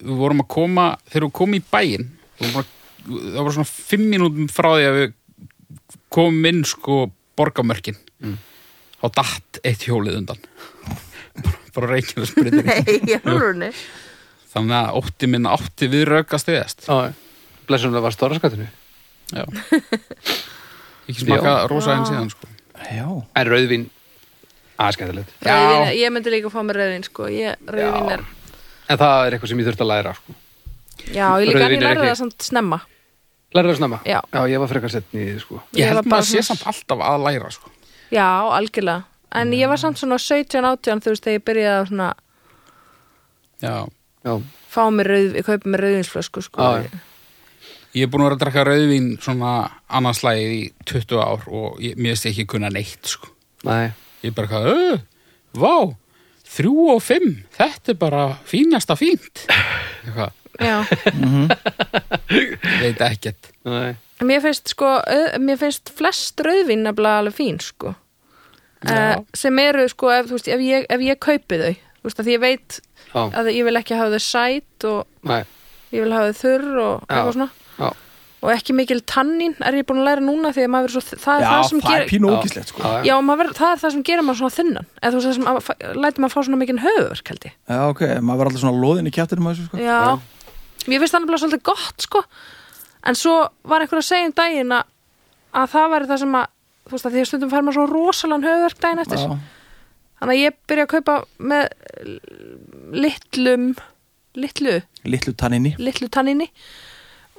Speaker 2: við vorum að koma, þegar við komum í bæinn við vorum bara, það var svona fimm mínútum frá því að við komum inn sko borgamörkin þá datt eitt hjólið undan bara, bara reykjana spyrir
Speaker 3: nei, í alvörunni
Speaker 2: þannig að ótti minn átti við röka stiðast
Speaker 4: Blessunlega var stóra skattinu
Speaker 2: já ekki smaka rosa enn síðan sko
Speaker 1: Já,
Speaker 4: En rauðvin, aðeins skemmtilegt
Speaker 2: Já.
Speaker 3: Rauðvín- ég myndi líka að fá mér rauðvin sko ég, rauðvin er,
Speaker 4: En það er eitthvað sem ég þurft að læra sko.
Speaker 3: já, ég líka
Speaker 4: Rauðvín
Speaker 3: hann ég
Speaker 4: er
Speaker 3: lærði
Speaker 4: ekki-
Speaker 3: það samt snemma
Speaker 4: Læra það snemma
Speaker 3: Já.
Speaker 4: ég var frekar sett nýðið sko.
Speaker 2: ég
Speaker 3: var
Speaker 2: held
Speaker 3: bara
Speaker 2: maður sé
Speaker 3: svona-
Speaker 2: samt alltaf að læra sko
Speaker 3: já, algjörlega, en ég var samt svona 17-18 þú veist þegar ég byrjaði að svona
Speaker 2: já
Speaker 4: Já,
Speaker 3: fá mér rauð, ég kaupi mér rauðvinsflösku sko
Speaker 4: Já, já.
Speaker 2: Ég er búin að vera að drakka rauðvín svona annarslægið í 20 ár og ég, mér veist ekki kunna neitt sko.
Speaker 4: nei
Speaker 2: Ég er bara eitthvað, öð, vá, þrjú og fimm, þetta er bara fínasta fínt. Eitthvað,
Speaker 3: já.
Speaker 2: veit ekkert.
Speaker 4: Nei,
Speaker 3: mér finnst sko au- mér finnst flest rauðvin nefnilega alveg fín sko uh, sem eru sko ef, þú veist, ef, ég, ef ég kaupi þau þú veist að því ég veit
Speaker 4: já,
Speaker 3: að ég vil ekki hafa þau sæt og
Speaker 4: nei
Speaker 3: ég vil hafa þau þurr og
Speaker 4: Já.
Speaker 3: eitthvað svona
Speaker 4: Já,
Speaker 3: og ekki mikil tannín er ég búin að læra núna því að maður verður svo, það er
Speaker 1: já
Speaker 3: það sem
Speaker 1: er
Speaker 3: gerir
Speaker 1: pínu
Speaker 4: Já.
Speaker 1: ógislegt sko
Speaker 4: Já,
Speaker 3: já, maður verður, það er það sem gerir maður svona þunnan eða þú veist það sem að, fæ, lætur maður fá svona mikinn höfuverk held ég
Speaker 1: Já, ok, maður var alltaf svona loðin í kjæftinum að þessu sko
Speaker 3: já, mér finnst það nefnilega svolítið gott sko, en svo var einhver að segja um daginn að, að það væri það sem að, þú veist að því að stundum fær maður svo rosalan höfuverk daginn eftir
Speaker 1: Já,
Speaker 3: þannig að ég byrja að kaupa með eh, litlum litlu,
Speaker 1: litlu tanninni
Speaker 3: litlu tanninni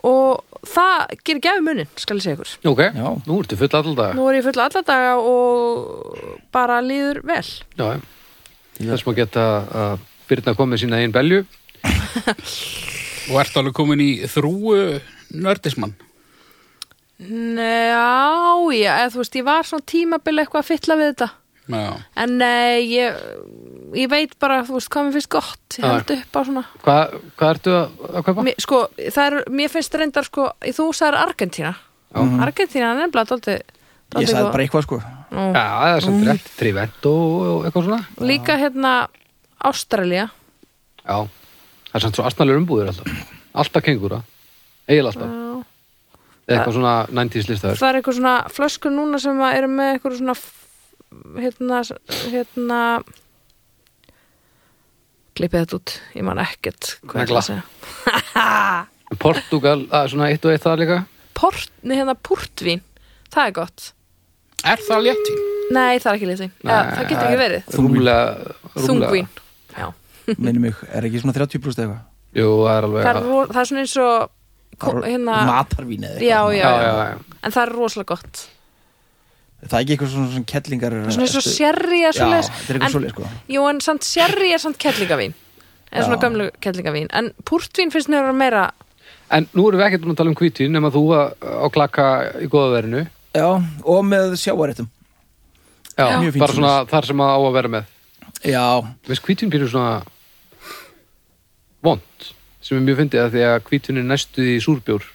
Speaker 3: og það gerir gefi munin, skal ég segja ykkur
Speaker 4: ok,
Speaker 1: Já.
Speaker 4: nú ertu full allan dag
Speaker 3: Nú er ég full alla daga og bara líður vel.
Speaker 4: Já, já. þess maður geta að Byrna komið sína einn belju
Speaker 2: Og ertu alveg komin í þrúu nördismann.
Speaker 3: Nei, já, já, eða þú veist, eh, ég var svona tímabil eitthvað að fylla við þetta.
Speaker 2: Já,
Speaker 3: En nei, ég, ég veit bara, þú veist, hvað mér finnst gott ég
Speaker 4: Já.
Speaker 3: held upp á svona
Speaker 4: Hvað, hvað ertu að, að kaupa?
Speaker 3: mér, sko, það er, mér finnst reyndar sko, þú sagðir Argentína Argentína er nefnilega dálítið
Speaker 1: Ég
Speaker 3: dálítið
Speaker 1: sagði
Speaker 3: góð.
Speaker 1: bara eitthvað sko
Speaker 3: Nú.
Speaker 4: Já, það er samt rétt, Trivent og, og eitthvað svona
Speaker 3: líka hérna Ástralía
Speaker 4: Já, það er samt svo astnalur umbúður alltaf Alltaf kengúra, eiginlega alltaf Eða eitthvað svona 90s listaður
Speaker 3: það er eitthvað svona flöskur núna sem að eru með eitthvað svona f- hérna, hérna klippið þetta út ég man ekkert hvað ég ætla
Speaker 4: Negla.
Speaker 3: að segja.
Speaker 4: Portugal, það er svona eitt og eitt það líka
Speaker 3: Port, nei, hérna púrtvín, það er gott
Speaker 2: Er það léttvín?
Speaker 3: nei, það er ekki lítið, ja, það getur ekki verið
Speaker 4: Rúmlega, rúmlega
Speaker 3: þungvín, já
Speaker 1: Minni mig, er ekki svona 30 pluss eitthvað
Speaker 4: Jú, það er alveg
Speaker 3: það er, ro- það er svona eins og ko-
Speaker 1: Það er
Speaker 3: hérna,
Speaker 1: Matarvín eða
Speaker 3: já,
Speaker 1: eitthvað
Speaker 3: já,
Speaker 4: já,
Speaker 3: já,
Speaker 4: já, já.
Speaker 3: en það er rosalega gott
Speaker 1: Það er ekki eitthvað svona, svona kettlingar
Speaker 3: svona eins og sérri
Speaker 1: Já, þetta er eitthvað
Speaker 3: en,
Speaker 1: svoleið sko
Speaker 3: jú, en samt sérri er samt kettlingavín eða svona
Speaker 1: Já.
Speaker 3: gömlu kettlingavín en púrtvín finnst mér að vera meira
Speaker 4: En nú erum við ekkert búin að tala um hvítin nema þú var á klaka í góðaverinu
Speaker 1: Já, og með sjáaréttum
Speaker 4: Já,
Speaker 1: Já. Mjög fínt
Speaker 4: bara svona þar sem að á að vera með
Speaker 1: Já,
Speaker 4: veist, hvítvin býrur svona vond sem er mjög fyndið að því að hvítvin er næstuð í súrbjór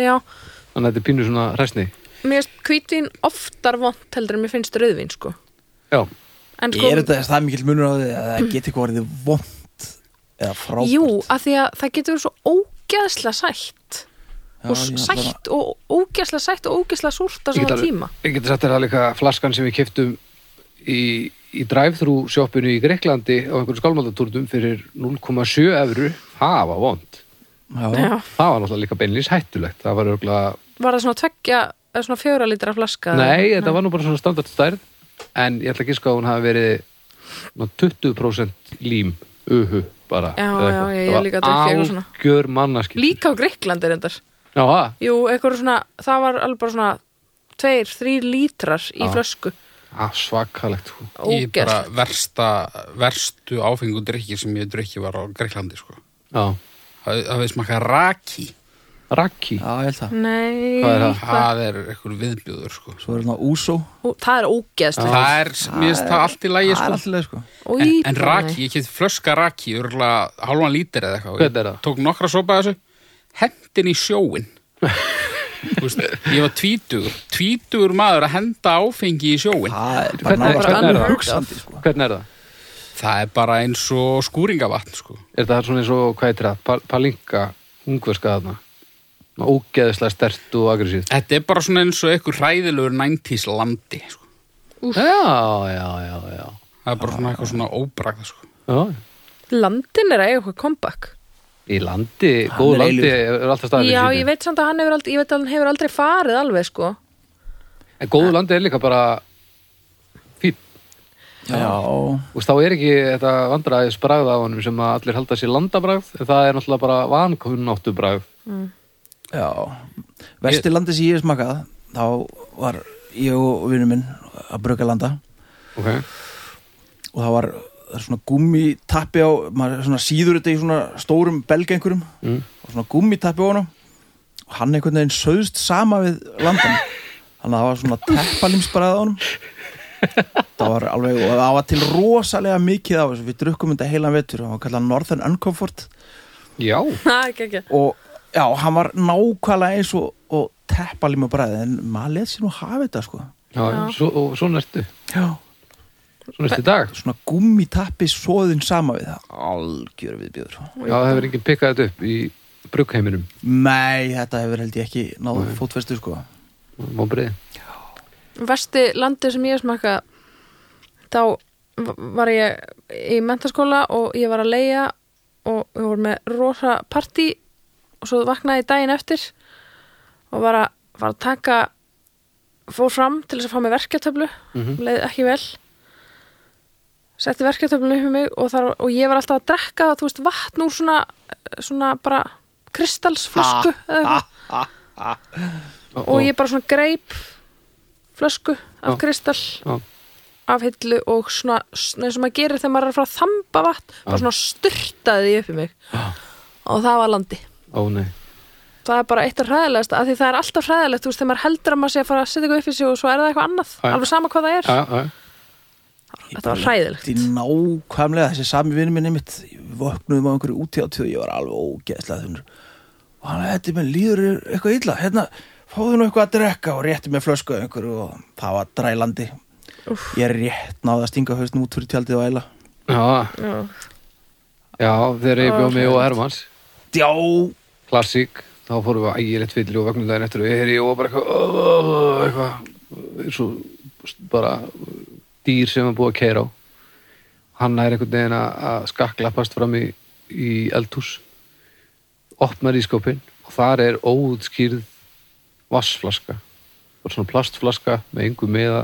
Speaker 3: já,
Speaker 4: þannig að þetta er pínu svona hræsni
Speaker 3: mér finnst hvítvín oftar vont heldur en mér finnst rauðvín sko
Speaker 4: já,
Speaker 3: en sko,
Speaker 1: er þetta það er mikill munur á því að það geti eitthvað orðið vond eða frábært
Speaker 3: jú, að því að það getur verið svo ógeðslega sætt
Speaker 1: Já,
Speaker 3: og
Speaker 1: ég ætla bara-
Speaker 3: sætt og ógeðslega sætt og ógeðslega súrt á
Speaker 4: Ég get
Speaker 3: svona
Speaker 4: alveg-
Speaker 3: tíma
Speaker 4: ég geti sagt þér að líka flaskan sem við keftum í, í drive-thru sjoppinu í Greiklandi á einhverjum skálmaldatúrtum fyrir 0,7 evru það var vond
Speaker 1: Já,
Speaker 3: já.
Speaker 4: það var náttúrulega líka beinlýs hættulegt það var örgulega,
Speaker 3: var það svona tveggja eða svona fjóra litra flaska
Speaker 4: nei, þetta var nú bara svona standardstærð en ég ætla að giska að hún hafi verið ná, 20% lím uhu bara
Speaker 3: Já,
Speaker 4: eða
Speaker 3: já,
Speaker 4: eitthvað.
Speaker 3: ég- ég líka
Speaker 4: það
Speaker 3: drukkið eitthvað
Speaker 4: var
Speaker 3: svona.
Speaker 4: algjör mannaskip
Speaker 3: líka á Greiklandi reyndar
Speaker 4: já, það
Speaker 3: jú, eitthvað svona, það var alveg bara svona tveir, þrýr litrar í
Speaker 4: Já.
Speaker 3: flösku
Speaker 4: Ah, svakalegt sko.
Speaker 2: Í bara
Speaker 3: ógeðslega
Speaker 2: versta, verstu áfengu drykki sem ég drykki var á Greiklandi, sko.
Speaker 4: Já.
Speaker 2: Það það við smakka raki.
Speaker 4: Raki.
Speaker 1: já, ég held það
Speaker 3: nei,
Speaker 4: Hvað er það?
Speaker 2: Það er eitthvað viðbjöður, sko.
Speaker 1: Svo er það úsó
Speaker 3: Ó, það er ógeðslega
Speaker 2: Það er, mér finnst það allt í lægi,
Speaker 1: Það er
Speaker 2: sko.
Speaker 1: alltaf leið sko
Speaker 3: Új,
Speaker 2: En, en
Speaker 3: bara
Speaker 2: raki,
Speaker 3: nei.
Speaker 2: ég kemst flöska raki, örgulega hálfan lítir eða eitthvað.
Speaker 4: Hvernig er það?
Speaker 2: Ég Tók nokkra sopa af þessu, hendin í sjóin. Þú veist, ég var tvítugur, tvítugur maður að henda áfengi í sjóin.
Speaker 1: Það er bara
Speaker 4: Hvernig-
Speaker 1: náttúrulega
Speaker 4: hvernig er
Speaker 1: hvernig
Speaker 4: það?
Speaker 1: hugsandi sko
Speaker 4: Hvernig er það?
Speaker 2: Það er bara eins og skúringavatn, sko.
Speaker 4: Er það svona eins og, hvað heitir það? Pal palinka, ungverska þarna. Ná, Ógeðislega stert og aggressíft.
Speaker 2: Þetta er bara svona eins og eitthvað hræðilegur 90s landi, sko.
Speaker 4: Já, já, já, já.
Speaker 2: Það er bara svona eitthvað svona óbragða, sko.
Speaker 4: já.
Speaker 3: landin er að eiga eitthvað comeback
Speaker 4: Í landi,
Speaker 1: Hann
Speaker 4: góð
Speaker 1: er
Speaker 4: landi
Speaker 1: eilífur.
Speaker 4: er alltaf staðar
Speaker 3: já,
Speaker 4: fyrir
Speaker 3: ég
Speaker 4: sínu.
Speaker 3: veit samt að hann hefur aldrei, ég veit að hann hefur aldrei farið alveg sko
Speaker 4: En góðu landi er líka bara fín.
Speaker 1: Já,
Speaker 4: Og þá er ekki þetta vandræðis bragð af honum sem að allir halda sér landabragð, en það er náttúrulega bara vankunnáttu bragð.
Speaker 1: já Vesti landi sem ég hef smakað Þá var ég og vinnu minn að bruka landa
Speaker 4: Ok.
Speaker 1: og það var það er svona gummitappi á maður svona síður þetta í svona stórum belg einhverjum og svona gummitappi á hana og hann einhvern veginn söðst sama við landan þannig að það var svona teppalinsbræð á honum það var alveg og það var til rosalega mikið af þessu við drukkum þetta heilan vetur og hann kallaði Northern Uncomfort
Speaker 4: Já.
Speaker 3: ha, ekki, ekki.
Speaker 1: og já, hann var nákvæmlega eins og, og teppalinsbræð en maður let sér nú hafa þetta sko
Speaker 4: Já, já. Svo, og svo næstu.
Speaker 1: já
Speaker 4: Svo næstu dag.
Speaker 1: svona gummitappi svoðin sama við það algjör viðbjöður
Speaker 4: Já, það hefur enginn pikkað þetta upp í bruggheiminum,
Speaker 1: Nei, þetta hefur held ég ekki náðu fótfestu sko
Speaker 4: móbriði.
Speaker 3: vesti landi sem ég hef smakkað þá v- var ég í mentaskóla og ég var að leia og við vorum með rosa partí og svo vaknaði ég daginn eftir og var að, var að taka fór fram til þess að fá mig verkjartöflu leið ekki vel setti verkjartöflu upp í mig og, þar, og ég var alltaf að drekka þú veist, vatn úr svona, svona bara kristalsflösku eða eitthvað og ég bara svona greip flösku af
Speaker 4: Já.
Speaker 3: kristall
Speaker 4: Já.
Speaker 3: af hillu og svona svona eins og maður gerir þegar maður er að fara að þamba vatn bara svona styrtaði því upp í mig og það var landi
Speaker 4: Ó, nei.
Speaker 3: það er bara eitt af hræðilegast af því það er alltaf hræðilegt þú veist þegar maður heldur að maður sé að fara að setja eitthvað upp í sig og svo er það eitthvað annað
Speaker 4: Já, já.
Speaker 3: alveg sama hvað það er
Speaker 4: Já, já,
Speaker 3: Þetta var hræðilegt.
Speaker 1: Í nákvæmlega þessi sami vinnu minni mitt vöknuðum á einhverju útjáttíð og ég var alveg ógeðslega þunnur og hann hætti með líður þér eitthvað illa hérna fáðu nú eitthvað að drekka og rétti með flösku af einhverju og það var drælandi ég rétt náði að stinga hausnum út fyrir tjaldið og æla
Speaker 4: Já,
Speaker 3: Já.
Speaker 4: já, þegar ég bjóð mig og Hermans
Speaker 1: djá
Speaker 4: klassík, þá fórum við ægilegt fyllir og vagnum daginn eftir og ég er ég og bara eitthvað, "Ugh", eitthvað eins og bara dýr sem er búið að keira á hann er einhvern veginn að að skakklappast fram í, í eldhús opnar í skópin og þar er óutskýrð vassflaska og svona plastflaska með yngu meða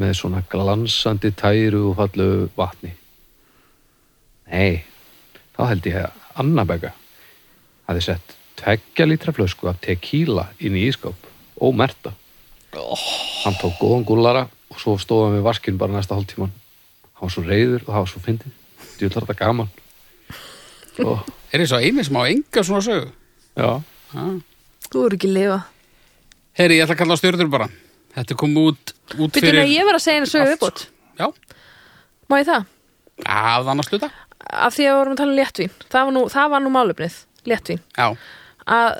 Speaker 4: með svona glansandi tæru og fallegu vatni Nei, þá held ég að Annabega hafði sett tveggja lítra flösku af tequila inn í ískáp ómerta Oh. hann tók góðan gullara og svo stóð hann við vaskinn bara næsta hálftíman hann var svo reyður og það var svo fyndið djúlar þetta gaman og,
Speaker 2: Er þess að eini sem á enga svona sögu?
Speaker 4: já,
Speaker 2: Ha?
Speaker 3: Þú eru ekki að lifa
Speaker 2: Heyri, ég ætla að kalla stjörður bara. Þetta kom út, út
Speaker 3: Býtum
Speaker 2: fyrir...
Speaker 3: að ég var að segja einu sögu
Speaker 2: Allt,
Speaker 3: viðbútt
Speaker 2: Já,
Speaker 3: Má ég það?
Speaker 2: af annars hluta.
Speaker 3: Af því að við vorum að tala um léttvín Það var nú, það var nú málefnið, léttvín
Speaker 2: Já,
Speaker 3: að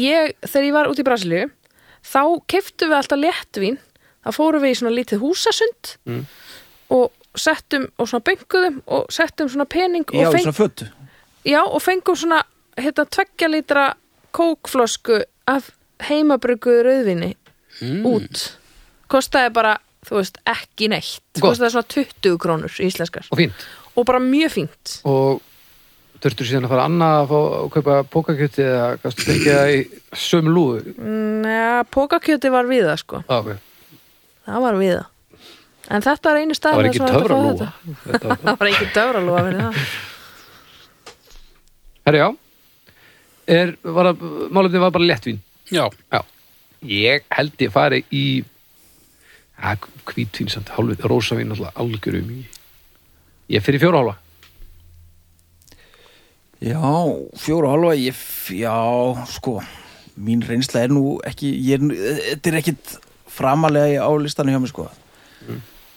Speaker 3: ég, þegar ég var út í Brasilíu þá keftum við alltaf léttvín þá fórum við í svona lítið húsasund og settum og svona benguðum og settum svona pening
Speaker 1: ég
Speaker 3: og,
Speaker 1: á
Speaker 3: feng,
Speaker 1: svona fötu
Speaker 3: já, og fengum svona hérna tveggja litra kókflösku af heimabrygguðu rauðvinni út kostaði bara, þú veist, ekki neitt
Speaker 4: Gott.
Speaker 3: kostaði svona 20 krónur íslenskar
Speaker 4: og fínt
Speaker 3: og bara mjög fínt
Speaker 4: og þurftur síðan að fara annað að fá að kaupa pókakjöti eða kannski ekki að í sömu lúðu
Speaker 3: Næ, pókakjöti var við það sko
Speaker 4: ah, okay.
Speaker 3: Það var við það. En þetta var einu stað
Speaker 4: það var ekki töfralúða Þetta var-
Speaker 3: Það var ekki töfralúa fyrir það
Speaker 4: herri já er, var að, málefni var bara léttvín
Speaker 2: já.
Speaker 4: Já, ég held ég fari í ja, hvítvín samt hálfið, rósavín alltaf algjöru mikið. Ég fyrir fjóra hálfa.
Speaker 1: já fjóra og halva ég f- já sko mín reynsla er nú ekki ég er, nú- e, þetta er ekkit framalega á listanum hjá mig sko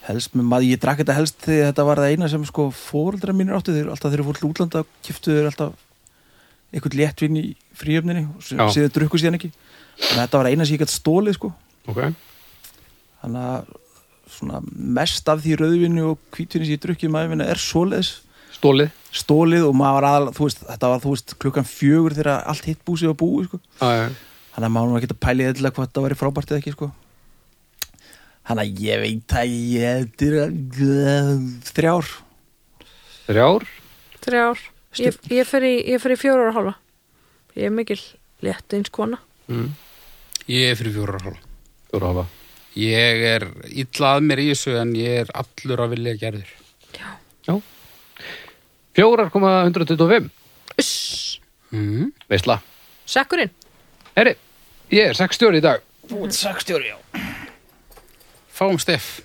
Speaker 1: helst með maður, ég drakk þetta helst þegar þetta var það eina sem sko fóreldra mínir áttu þeir alltaf þeir eru fórt útlanda kiftu þeir alltaf einhvern léttvinn í fríöfninni og
Speaker 4: Já.
Speaker 1: séðu drukku síðan ekki þannig að þetta var eina sem ég gætt stólið sko
Speaker 4: Ok.
Speaker 1: þannig að svona mest af því rauðvinni og hvítvinni sem ég drukkið maður minna er svoleiðis
Speaker 4: Stólið.
Speaker 1: stólið og maður var aðal, þú veist, þetta var þú veist klukkan fjögur þegar allt hitt búsið var búið sko.
Speaker 4: Æ,
Speaker 1: þannig að maður var ekki að pæli eðlilega hvað þetta væri frábært eða ekki sko. þannig að ég veit að ég eftir að- eh, þrjár
Speaker 4: þrjár.
Speaker 3: Þrjár Ég, ég fer í, ég fer í fjóra ára hálfa Ég er mikil létt eins kona
Speaker 4: Mm.
Speaker 2: Ég er fyrir fjóra og hálfa.
Speaker 4: Fjóra hálfa.
Speaker 2: Ég er illa að mér í þessu en ég er allur að vilja gerður.
Speaker 4: Já. Fjórar koma 125.
Speaker 3: Uss,
Speaker 2: Mm.
Speaker 4: Veistla.
Speaker 3: Sekkurinn
Speaker 4: Herri, ég er 60 í dag.
Speaker 1: út sagstjóri já
Speaker 2: Fáum Steff.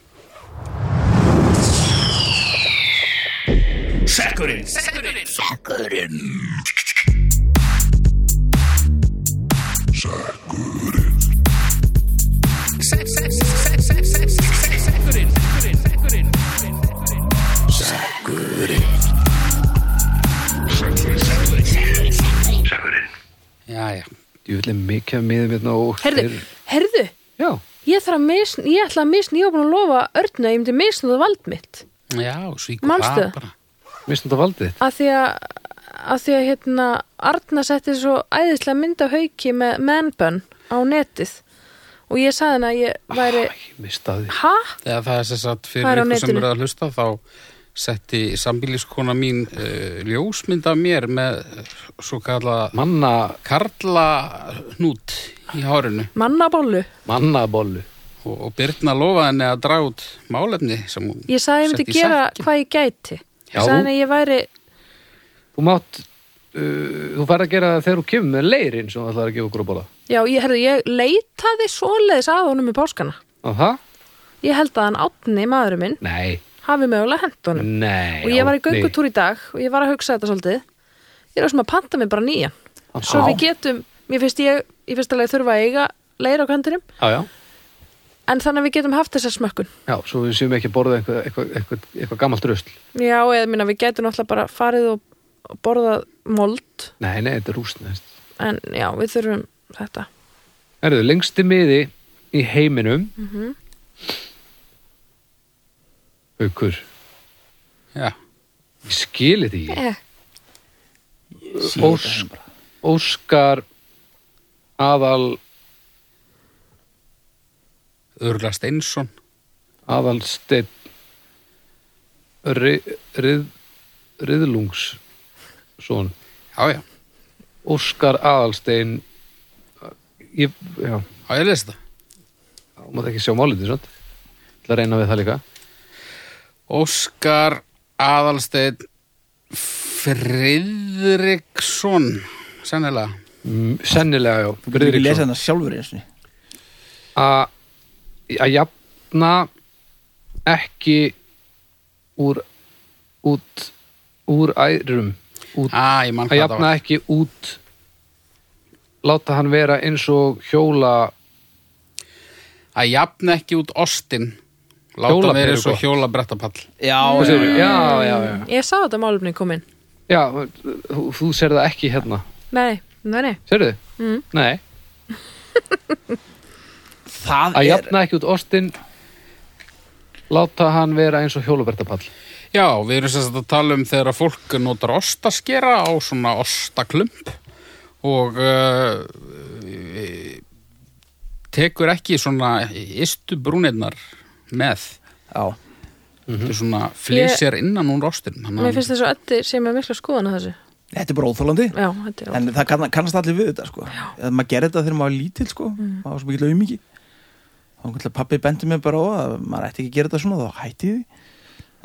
Speaker 2: Jæja.
Speaker 4: Ég vil mikið að miðum hérna og...
Speaker 3: Herðu,
Speaker 4: Þeir-
Speaker 3: herðu
Speaker 4: Já.
Speaker 3: Ég þarf að misn, ég ætla að misn Ég var búin að lofa örnu að ég myndi misn það vald mitt
Speaker 2: Já, svíkur
Speaker 3: Manstu?
Speaker 2: það bara.
Speaker 4: Mistum þetta valdið þitt.
Speaker 3: Af því að að því að hérna Arna setti svo æðislega mynd af hauki með manbun á netið og ég sagði hann að ég væri
Speaker 4: Æ, mistaði.
Speaker 3: ha?
Speaker 2: Þegar það er sem sagt fyrir
Speaker 3: Það er á
Speaker 2: ykkur sem
Speaker 3: netinu.
Speaker 2: eru að hlusta þá setti sambíliskona mín uh, ljósmynd af mér með eh, svo kalla
Speaker 4: Manna,
Speaker 2: karla hnút í hárinu
Speaker 3: Mannabólu
Speaker 4: mannabollu.
Speaker 2: og, og Birna lofaði henni að draga út málefni sem hún
Speaker 3: Ég sagði ég
Speaker 2: setti
Speaker 3: myndi
Speaker 2: í
Speaker 3: gera
Speaker 2: sekk.
Speaker 3: hvað ég gæti
Speaker 4: Já.
Speaker 3: Ég sagði henni að ég væri
Speaker 4: Þú mátt, uh, þú færð að gera það þegar þú kemur með leirinn sem þú ætlar að gefa okkur að bóla.
Speaker 3: Já, ég, herrðu, ég leitaði svoleiðis að honum í páskana
Speaker 4: Aha.
Speaker 3: Ég held að hann átni maðurinn minn
Speaker 4: Nei.
Speaker 3: hafi mögulega hent honum
Speaker 4: Nei,
Speaker 3: og ég var í
Speaker 4: Árni.
Speaker 3: göngutúr í dag og ég var að hugsa þetta svolítið Ég er að sem að panta mig bara nýjan Svo
Speaker 1: Já.
Speaker 3: við getum, mér finnst ég, ég finnst alveg þurfa að eiga leir á kantinum
Speaker 4: Já, já,
Speaker 3: en þannig að við getum haft þessa smökkun
Speaker 4: Já, svo við séum ekki að borða eitthvað, eitthvað, eitthvað, eitthvað gammalt rusl.
Speaker 3: já, eða minna, við getum náttúrulega bara farið og og borðað mold
Speaker 4: Nei, nei, þetta er rústnest.
Speaker 3: en já, við þurfum þetta
Speaker 4: Erðu, lengsti miði í heiminum. Mm
Speaker 3: Mhm.
Speaker 4: Haukur,
Speaker 2: Já,
Speaker 4: ég skil þetta ekki.
Speaker 3: eh,
Speaker 4: Ósk, Óskar aðal,
Speaker 2: örgla Steinsson
Speaker 4: aðalsteinn ri, rið, riðlungs son.
Speaker 2: Já, já,
Speaker 4: Óskar aðalsteinn ég, já,
Speaker 2: já, ég lesi það
Speaker 4: þá maður ekki sjá málið svona. Það reyna við það líka.
Speaker 2: Óskar Aðalsteinn Friðriksson Sennilega
Speaker 4: Mm, Sennilega, já.
Speaker 1: Þú getur ekki
Speaker 4: Friðriksson.
Speaker 1: lesað hana sjálfur eins og
Speaker 4: að að jafna ekki úr út úr ærum út,
Speaker 2: Á, ég mann Ah, hvað
Speaker 4: að
Speaker 2: það
Speaker 4: jafna
Speaker 2: var
Speaker 4: ekki út láta hann vera eins og hjóla
Speaker 2: Að jafna ekki út ostin Láta
Speaker 4: Hjólabretti
Speaker 2: mér
Speaker 4: er
Speaker 2: eins og
Speaker 4: gott.
Speaker 2: hjóla brettapall
Speaker 1: Já,
Speaker 4: já, já, já, já.
Speaker 3: ég sá þetta málumni komin
Speaker 4: já þú, þú sér það ekki hérna
Speaker 3: nei, nei, nei,
Speaker 4: sérðu? Mm. nei,
Speaker 1: það
Speaker 4: að
Speaker 1: er
Speaker 4: jafna ekki út ostin láta hann vera eins og hjólubertapall
Speaker 2: Já, við erum sérst að tala um þegar að fólk notar ostaskera á svona ostaklump og uh, tekur ekki svona ystu brúnirnar með
Speaker 1: Já,
Speaker 2: þetta er svona flysjar innan úr ostin
Speaker 3: Mhm. mér finnst þess að ötti sem er mikla skoðan að þessu
Speaker 1: þetta er bara óþólandi
Speaker 3: já, þetta er
Speaker 1: En það kann, kannast allir við þetta sko Eða maður gerir þetta þegar maður er lítill sko
Speaker 3: Mm.
Speaker 1: Maður var svo mikið laumingi Og einhvern veginn pappi bendi mér bara á að maður ætti ekki að gera þetta svona Þá hætti ég því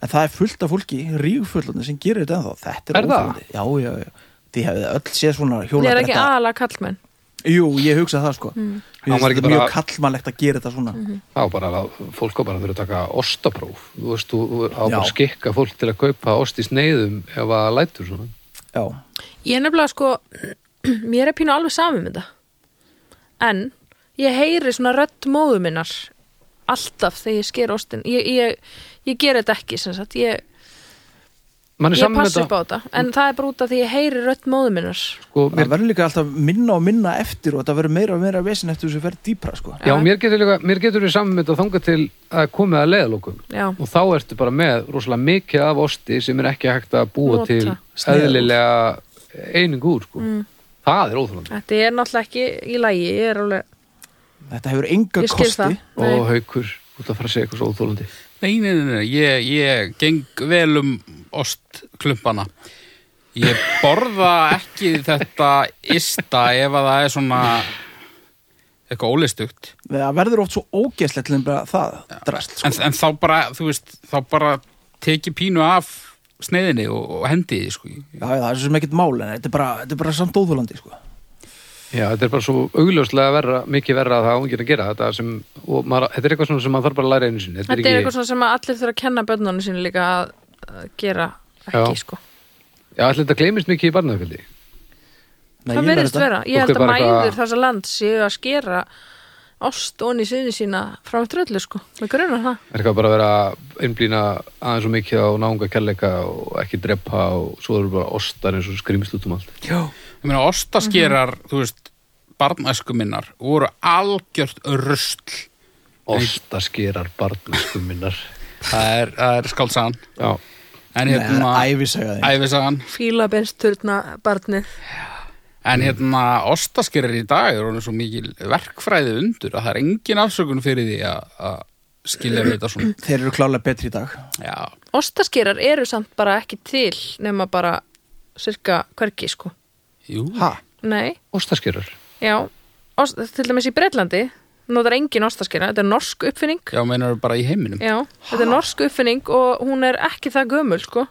Speaker 1: En það er fullt af fólki, rígfullandi sem gerir þetta ennþá Þetta er,
Speaker 4: Er það?
Speaker 1: óþolandi. Já, já, já Því hefði öll séð svona
Speaker 3: Ég
Speaker 1: hjóla
Speaker 3: er ekki Mm. aðalega kallmenn
Speaker 1: Jú, ég hugsa það sko
Speaker 4: Hann
Speaker 1: Mér finnst
Speaker 4: var ekki
Speaker 1: þetta mjög
Speaker 4: bara-
Speaker 1: kallmannlegt að gera þetta svona
Speaker 3: Mhm.
Speaker 4: þá bara að fólk á bara að þurfa að taka ostapróf þú veist, þú á bara
Speaker 1: Já.
Speaker 4: að skikka fólk til að kaupa ost í sneiðum ef að það lætur svona
Speaker 1: Já,
Speaker 3: Ég er nefnilega sko Mér er pínu alveg samum þetta En ég heyri svona rödd móðu minnar Alltaf þegar ég sker ostin Ég, ég, ég ger þetta ekki sem sagt Ég,
Speaker 4: mann er
Speaker 3: ég
Speaker 4: saman með
Speaker 3: passi upp
Speaker 4: þetta
Speaker 3: á þetta En það er bara út af því ég heyri rödd móðu minnar
Speaker 4: sko, mér,
Speaker 1: það verður líka alltaf minna og minna eftir og þetta verður meira og meira vesen eftir þessu ferð dýpra sko
Speaker 4: já, mér getur, líka, mér getur við saman með þetta þangað til að komið að leiðalokum
Speaker 3: Já,
Speaker 4: og þá ertu bara með rosalega mikið af osti sem er ekki hægt að búa
Speaker 3: Nota. Mm.
Speaker 4: til eðlilega eining úr sko. það er óþjóðan
Speaker 3: þetta er náttúrulega ekki í lagi Ég er alveg,
Speaker 1: Þetta hefur enga
Speaker 3: ég skil
Speaker 1: kosti
Speaker 3: það Nei.
Speaker 4: og haukur, þú ert að fara að segja eitthvað svo óþólandi
Speaker 2: Nei, nei, nei, nei. Ég, ég geng vel um ostklumpana. Ég borða ekki þetta ysta ef að það er svona eitthvað ólistugt.
Speaker 1: Það verður oft svo ógeðslegt til en bara það drast sko.
Speaker 2: En, en þá bara, þú veist, þá bara teki pínu af sneiðinni og, og hendi því, sko.
Speaker 1: Já, já, það er svo sem ekkert mál en þetta er bara, þetta er bara samt óþólandi sko.
Speaker 4: Já, þetta er bara svo augljóslega verra, mikið verra að það á enginn að gera þetta sem, og maður, þetta er eitthvað svona sem maður þarf bara að læra einu sinni.
Speaker 3: þetta er eitthvað svona sem að allir þurfa að kenna bönnunum sín líka að, að gera ekki
Speaker 4: Já.
Speaker 3: sko
Speaker 4: Já, allir þetta gleymist mikið í barnaðfjöldi.
Speaker 1: Nei,
Speaker 3: Það
Speaker 1: ég verð
Speaker 3: verðist vera, ég
Speaker 4: Fólk
Speaker 3: held
Speaker 4: er
Speaker 3: að
Speaker 4: bara eitthvað-
Speaker 3: mæður þessa land séu að skera ost onni sinni sína frá með tröllu sko, með grunar það
Speaker 4: Það er eitthvað bara að vera að einblýna aðeins og mikið á náunga kærleika og ekki drepa og svo eru bara ostar eins og skrýmst út um allt.
Speaker 1: Já,
Speaker 2: Ég meina, ostaskerar,
Speaker 1: Mhm.
Speaker 2: þú veist, barnæsku minnar voru algjört rusl.
Speaker 4: Ostaskerar barnaskum minnar.
Speaker 2: Það er, það er skálsagan.
Speaker 4: Já,
Speaker 2: En
Speaker 1: Nei, það
Speaker 2: hérna,
Speaker 1: er æfisaga þín
Speaker 2: æfisagan.
Speaker 3: Fílabensturna barnið
Speaker 2: En hérna, ostaskerir í dag er honum svo mikil verkfræði undur að það er engin afsökun fyrir því að að skilja við þetta svona.
Speaker 1: Þeir eru klálega betri í dag
Speaker 2: Já,
Speaker 3: Ostaskerar eru samt bara ekki til nema bara cirka hvergi sko
Speaker 2: jú.
Speaker 1: Ha,
Speaker 3: Nei,
Speaker 4: ostaskerar.
Speaker 3: já ost, Til dæmis í Bretlandi notar engin ostaskera, þetta er norsk uppfinning
Speaker 2: Já, meinar bara í heiminum.
Speaker 3: Já, þetta er norsk uppfinning og hún er ekki það gömul sko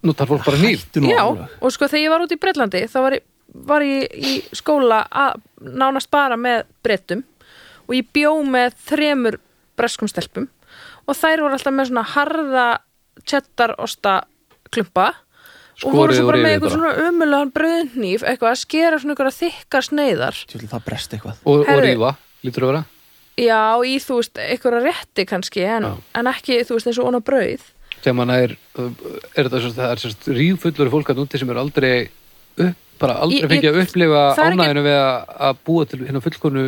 Speaker 4: Nú tar fólk bara nýl.
Speaker 1: þú nú
Speaker 3: Já,
Speaker 1: alveg.
Speaker 3: og sko þegar ég var út í Breitlandi þá var ég, var ég í skóla að nánast bara með brettum og ég bjó með þremur breskum stelpum og þær voru alltaf með svona harða cheddar osta klumpa og
Speaker 4: Skorið
Speaker 3: voru svo
Speaker 4: úr
Speaker 3: bara með
Speaker 4: yfir
Speaker 3: eitthvað svona umulagan bröðnýf eitthvað að skera svona eitthvað þykkar sneiðar
Speaker 1: Tjóðlega það brest eitthvað
Speaker 4: Og, og
Speaker 3: Herðu.
Speaker 4: rífa, lítur að vera.
Speaker 3: já, í þú veist, einhverja rétti kannski en,
Speaker 4: Já.
Speaker 3: en ekki, þú veist, eins og ona brauð
Speaker 4: þegar mann er, er þetta sérst, það er sérst rífullur fólk að núti sem er aldrei upp, bara aldrei
Speaker 3: Ég- ég-
Speaker 4: fengið að upplifa
Speaker 3: það er ekki-
Speaker 4: ánæðinu við að, að búa til hérna fullkonu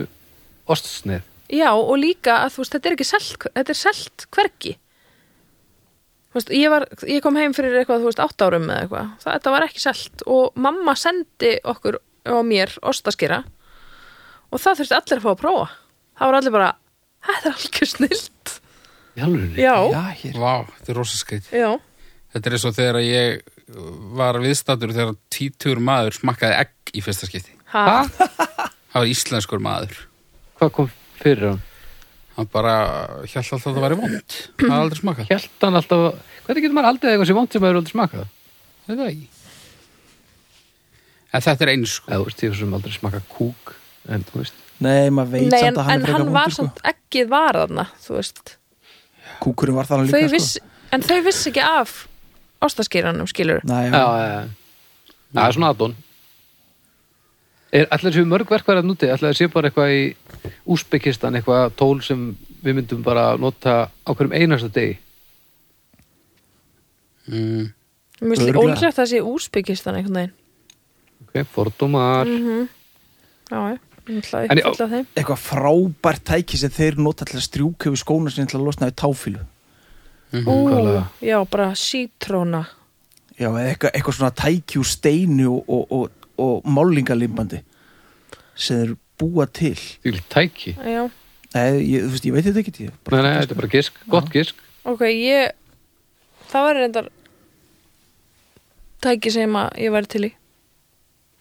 Speaker 4: ostsneið
Speaker 3: já, og líka að þú veist, þetta er ekki selt þetta er selt hvergi Þú veist, ég, var, ég kom heim fyrir eitthvað, þú veist, átt árum eða eitthvað það, þetta var ekki selt og mamma sendi okkur og mér ostaskýra og það þurfti allir að fá að prófa það var allir bara, þetta er algjör snilt
Speaker 4: í alveg
Speaker 3: já, já,
Speaker 1: Já, hér
Speaker 2: Vá, þetta er rosa skrýt.
Speaker 3: já,
Speaker 2: Þetta er eins og þegar ég var viðstatur þegar títur maður smakkaði egg í fyrsta skipti.
Speaker 3: ha,
Speaker 2: Það var íslenskur maður.
Speaker 4: hvað kom fyrir hann?
Speaker 2: Hann bara hjælt alltaf að það væri vond. Það er aldrei smakað.
Speaker 4: Hjælt hann alltaf, hvernig getur maður aldrei eitthvað sem vant sem maður er aldrei smakað?
Speaker 2: Þetta er ekki. En þetta er eins sko.
Speaker 4: eða þú veist, ég sem aldrei smakað kúk en þú veist,
Speaker 1: Nei, maður veit
Speaker 3: Nei, en,
Speaker 1: samt að hann
Speaker 3: en
Speaker 1: er
Speaker 3: hann
Speaker 1: frekar
Speaker 3: var
Speaker 1: vondur sko.
Speaker 3: samt ekkið var þarna, þú veist
Speaker 1: Kúkurinn var þarna
Speaker 3: þau
Speaker 1: líka sko.
Speaker 3: viss, En þau vissi ekki af ástaskýranum, skilur
Speaker 1: sko. Nei,
Speaker 4: já,
Speaker 1: já.
Speaker 4: já, já það er svona aðdón er allir séu mörg verkværi að núti allir séu bara eitthvað í Úsbekistan eitthvað tól sem við myndum bara nota á hverjum einasta degi
Speaker 2: Mm.
Speaker 3: Mér finnst
Speaker 1: Örugglega.
Speaker 3: ólíklegt að það sé úsbyggistan einhvern veginn
Speaker 4: ok, fordómar
Speaker 3: Mhm. Já, ég ætla
Speaker 4: En
Speaker 3: að
Speaker 4: ég-
Speaker 3: uppfylla þeim
Speaker 1: Eitthvað frábært tæki sem þeir nota til að strjúka yfir skóna sinni til að losna við táfílu
Speaker 4: Mhm,
Speaker 3: Ú,
Speaker 4: Hvaðlega?
Speaker 3: já, bara sítróna
Speaker 1: Já, eða eitthvað, eitthvað svona tæki úr steinu og, og, og, og málingalimbandi sem þeir búa til
Speaker 4: því tæki
Speaker 3: Já,
Speaker 1: Nei, ég, þú veist, ég veit þetta ekki ég
Speaker 4: nei, nei, þetta er bara gisk, gott gisk
Speaker 3: ok, ég Það var reyndar Tæki sem að ég væri til í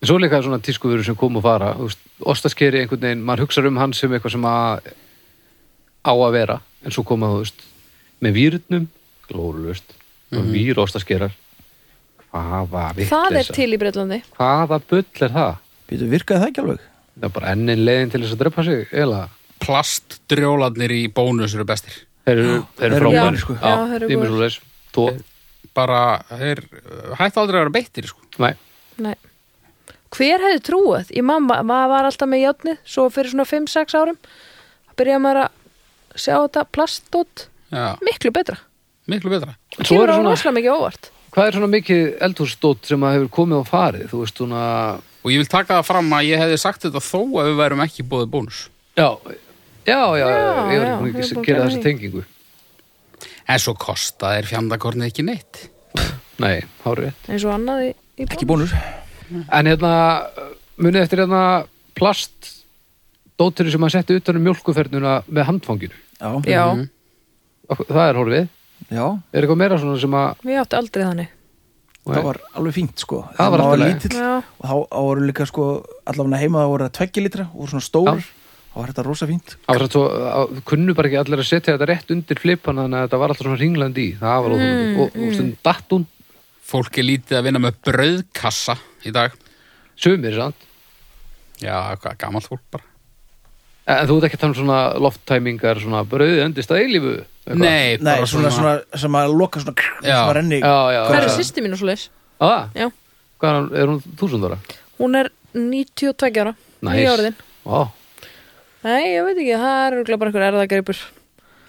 Speaker 4: en svo er líka svona tískuvöru sem kom og fara þú veist, ostaskeri einhvern veginn, maður hugsar um hann sem eitthvað sem að á að vera, en svo koma þú veist með výrutnum, glóruðust mm -hmm. výr ostaskerar hvaða
Speaker 3: Mhm. Það er
Speaker 4: vitleysa?
Speaker 3: til í Breitlandi
Speaker 4: hvaða bull er það?
Speaker 1: Býtu, virkaði það ekki alveg?
Speaker 4: það er bara ennin leiðin til þess að drepa sig eða
Speaker 2: Plastdrjólarnir í bónus eru bestir.
Speaker 4: þeir eru, þeir eru
Speaker 1: þeir eru
Speaker 4: frábæri
Speaker 1: góðir, sko.
Speaker 4: Já,
Speaker 3: Já, þeir eru
Speaker 4: ég með
Speaker 3: góðir.
Speaker 4: svoleiðis. Tó-
Speaker 2: Bara, þeir uh, hættu aldrei að vera beittir sko.
Speaker 4: Nei,
Speaker 3: Nei Hver hefði trúað? Ég mamma, maður var alltaf með játnið svo fyrir svona 5-6 árum að byrja maður að sjá þetta plastótt
Speaker 2: Já,
Speaker 3: miklu betra
Speaker 2: miklu betra.
Speaker 4: En svo
Speaker 3: Kemur
Speaker 4: eru
Speaker 3: á
Speaker 4: svona-
Speaker 3: rosalega mikið óvart
Speaker 4: Hvað er svona mikið eldhússtótt sem að hefur komið og farið? Þú veist svona
Speaker 2: Og ég vil taka það fram að ég hefði sagt þetta þó að við værum ekki bóðið bónus.
Speaker 4: Já, já, já, já, ég var
Speaker 3: Já, já,
Speaker 4: ekki
Speaker 3: ég er
Speaker 4: búin að
Speaker 3: búin að
Speaker 4: gera
Speaker 3: gera
Speaker 4: þessa
Speaker 3: því.
Speaker 4: tengingu
Speaker 2: En svo kosta þeir fjandakornið ekki neitt.
Speaker 4: Nei, hárið
Speaker 3: eins og annað í, í
Speaker 1: Ekki bónus
Speaker 4: En hérna, munið eftir hérna plast dóttirinn sem að setja utan um mjólkuferðnuna með handfanginu
Speaker 1: Já,
Speaker 3: Já,
Speaker 4: Mhm. Ok, Það er horfið,
Speaker 1: já
Speaker 4: er eitthvað meira svona sem að
Speaker 3: við áttu aldrei þannig
Speaker 1: það var alveg fínt sko
Speaker 4: Það var allt í lagi.
Speaker 1: lítill
Speaker 3: Já.
Speaker 1: og þá þá voru líka sko allavega heima það voru tveggja litra og voru svona stór þá var þetta rosa fínt
Speaker 4: Það var satt svo, að- kunnu bara ekki allir að setja þetta rétt undir flipan þannig að þetta var alltaf svona ringlandi í það var óþólandi mm, og, og stundum datt hún
Speaker 2: Fólk er lítið að vinna með brauðkassa í dag.
Speaker 4: sumir sant
Speaker 2: Já, hvað, gamalt fólk bara.
Speaker 4: en, en þú ert ekki að tala um svona lofttæmingar svona brauðið endist að eilífu eitthvað.
Speaker 2: Nei,
Speaker 1: Nei,
Speaker 2: bara
Speaker 1: svona, svona, sem að loka svona krr,
Speaker 2: Já.
Speaker 1: sem að renni
Speaker 4: Já, já,
Speaker 3: Hvað er
Speaker 4: já.
Speaker 3: sýsti mínu svo leis?
Speaker 4: Ah,
Speaker 3: Já,
Speaker 4: Hvað er hún, er hún þúsundara?
Speaker 3: hún er 92 ára
Speaker 4: Næs.
Speaker 3: í orðin
Speaker 4: Vá,
Speaker 3: Nei, ég veit ekki, það er örugglega bara einhver erðagripur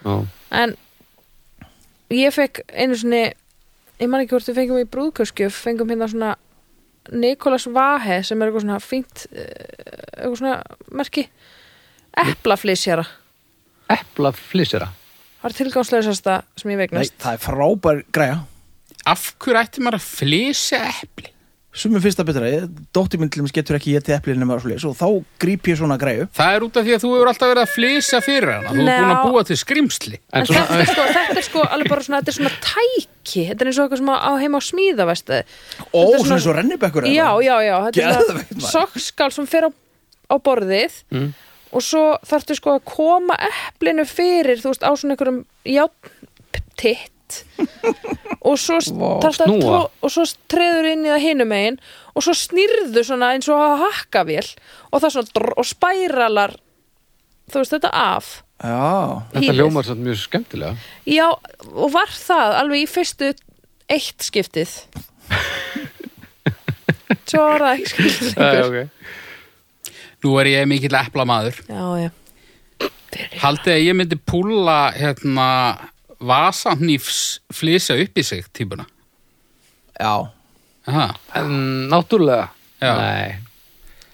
Speaker 4: já,
Speaker 3: En ég fekk einu sinni ég man ekki hvort við fengum í brúðkjöskjöf fengum hérna svona Nikolas Vahe sem er eitthvað svona fínt eh, eitthvað svona merki eplaflysjara
Speaker 4: epla flissera
Speaker 3: það er tilgangsleisasta sem ég
Speaker 1: Nei,
Speaker 3: vegnast
Speaker 1: það er frábær græja
Speaker 2: Af hverju ætti maður að flýsa epli?
Speaker 1: Sumum fyrsta betra, dóttir minn til dæmis getur ekki ég til eplið nema svo og þá gríp ég svona græju
Speaker 2: Það er út af því að þú hefur alltaf verið að flýsa fyrir hana. Þú
Speaker 3: Njá.
Speaker 2: hefur búin að búa til skrimsli.
Speaker 3: En þetta er, sko, þetta er sko alveg bara svona, þetta er svona tæki þetta er eins og eitthvað sem á heima á smíða veistu.
Speaker 1: Ó,
Speaker 3: Þetta er
Speaker 1: svona eins og rennibekkur eða?
Speaker 3: já, já, já, þetta er
Speaker 1: Geðveikt,
Speaker 3: svona
Speaker 1: maður.
Speaker 3: sokkskal sem fer á, á borðið og svo þarftu sko að koma eplinu fyrir, þú veist, á svona einhverjum játtitt og svo s-
Speaker 4: Vá,
Speaker 3: þarftu að
Speaker 4: snúa.
Speaker 3: tró, og svo treður inn í það hinum megin og svo snýrðu svona eins og að hakka vel og það svona drr, og spæralar þú veist, þetta af
Speaker 1: Já,
Speaker 4: Þetta
Speaker 3: hýlið.
Speaker 4: ljómar samt mjög skemmtilega
Speaker 3: Já, og var það alveg í fyrstu eitt skiptið Svo var það ekki
Speaker 4: Eh,
Speaker 3: skiptið lengur
Speaker 4: okay.
Speaker 2: Nú er ég mikill eplamaður.
Speaker 3: Já, já Fyrir.
Speaker 2: Haldið að ég myndi púla hérna vasanýfs flýsa upp í sig típuna.
Speaker 1: Já,
Speaker 2: Aha.
Speaker 4: En náttúrulega
Speaker 2: Já.
Speaker 4: Nei,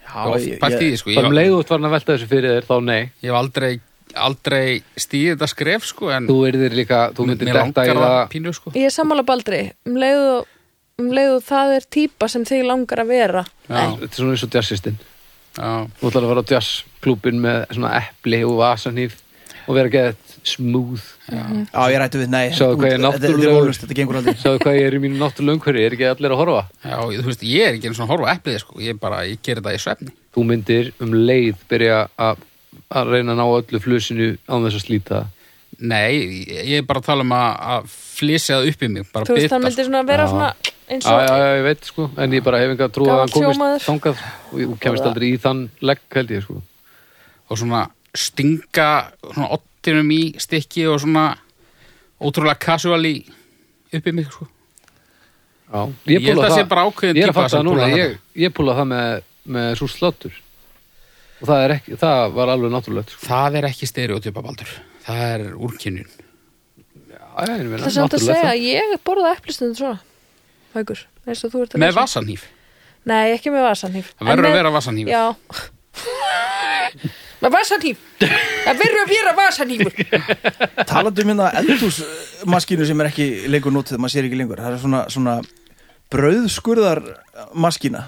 Speaker 1: já
Speaker 2: Ég,
Speaker 1: ég-
Speaker 2: ég,
Speaker 1: ég-
Speaker 2: sko,
Speaker 4: bara um
Speaker 2: ég,
Speaker 4: leið og þú ert farin að velta þessu fyrir þér þá nei
Speaker 2: ég hef aldrei, aldrei stíðið þetta skref sko en
Speaker 4: Þú erðir líka, þú myndir
Speaker 2: mér
Speaker 4: detta í
Speaker 2: langar það
Speaker 4: það
Speaker 2: pínu sko.
Speaker 3: Ég er sammála baldri um leið og, um leið og það er típa sem þig langar að vera
Speaker 2: Já,
Speaker 4: Þetta er svona eins og jazzistinn
Speaker 2: já.
Speaker 4: Þú ætlar að fara á jazzklúbin með svona epli og vasanýf og vera gett smooth
Speaker 1: Já, ég rættu við, nei
Speaker 4: Sjáðu hvað ég er
Speaker 1: Þetta- þetta- Þetta er
Speaker 4: náttúrulegur.
Speaker 1: ólust, þetta gengur aldrei
Speaker 4: Sjáðu hvað ég er í mínu náttúrulega umhverju, er ekki allir að horfa
Speaker 2: Já, ég- þú veist, ég er ekki eins og að horfa á eplið sko, ég bara, ég gerir það í svefni.
Speaker 4: Þú myndir um leið byrja að að reyna að ná öllu flusinu án þess að slíta það.
Speaker 2: Nei, ég ég er bara að tala um að, að flýsa það upp í mig, bara
Speaker 3: Þú veist,
Speaker 2: bita
Speaker 3: það
Speaker 2: sko.
Speaker 3: myndir svona vera
Speaker 4: Já.
Speaker 3: svona eins
Speaker 4: Já, já,
Speaker 3: og
Speaker 4: já, ég veit sko, en ég bara hef enga trú að
Speaker 3: Gamall
Speaker 4: hann komist
Speaker 3: sjómaður.
Speaker 4: þangað og og kemist aldrei í þann legg held ég sko.
Speaker 2: og svona stinga svona ottinum í stikki og svona ótrúlega casual í upp í mig sko.
Speaker 4: Já,
Speaker 2: Ég held að sé bara ákveðin
Speaker 4: ég
Speaker 2: típa
Speaker 4: er að fatta
Speaker 2: sem
Speaker 4: það núna,
Speaker 2: púlar
Speaker 4: ég, ég púla það með, með svo slottur og það, er ekki, það var alveg náttúrulegt sko.
Speaker 2: Það er ekki stereotypa baldur, það er úrkynjun.
Speaker 4: Já, ég meina,
Speaker 3: Það sem þetta að
Speaker 4: náttúrulegt
Speaker 3: segja,
Speaker 4: það.
Speaker 3: ég borða eplistundum svona Haukur, eins og þú ert að
Speaker 2: Með
Speaker 3: lýsa.
Speaker 2: vasanýf,
Speaker 3: Nei, ekki með vasanýf
Speaker 2: það verður að vera vasanýf.
Speaker 3: Já Með vasanýf Það verður að vera vasanýfur
Speaker 1: Talandi um hérna eldhúsmaskínu sem er ekki lengur notið, maður sér ekki lengur Það er svona, svona brauðskurðarmaskína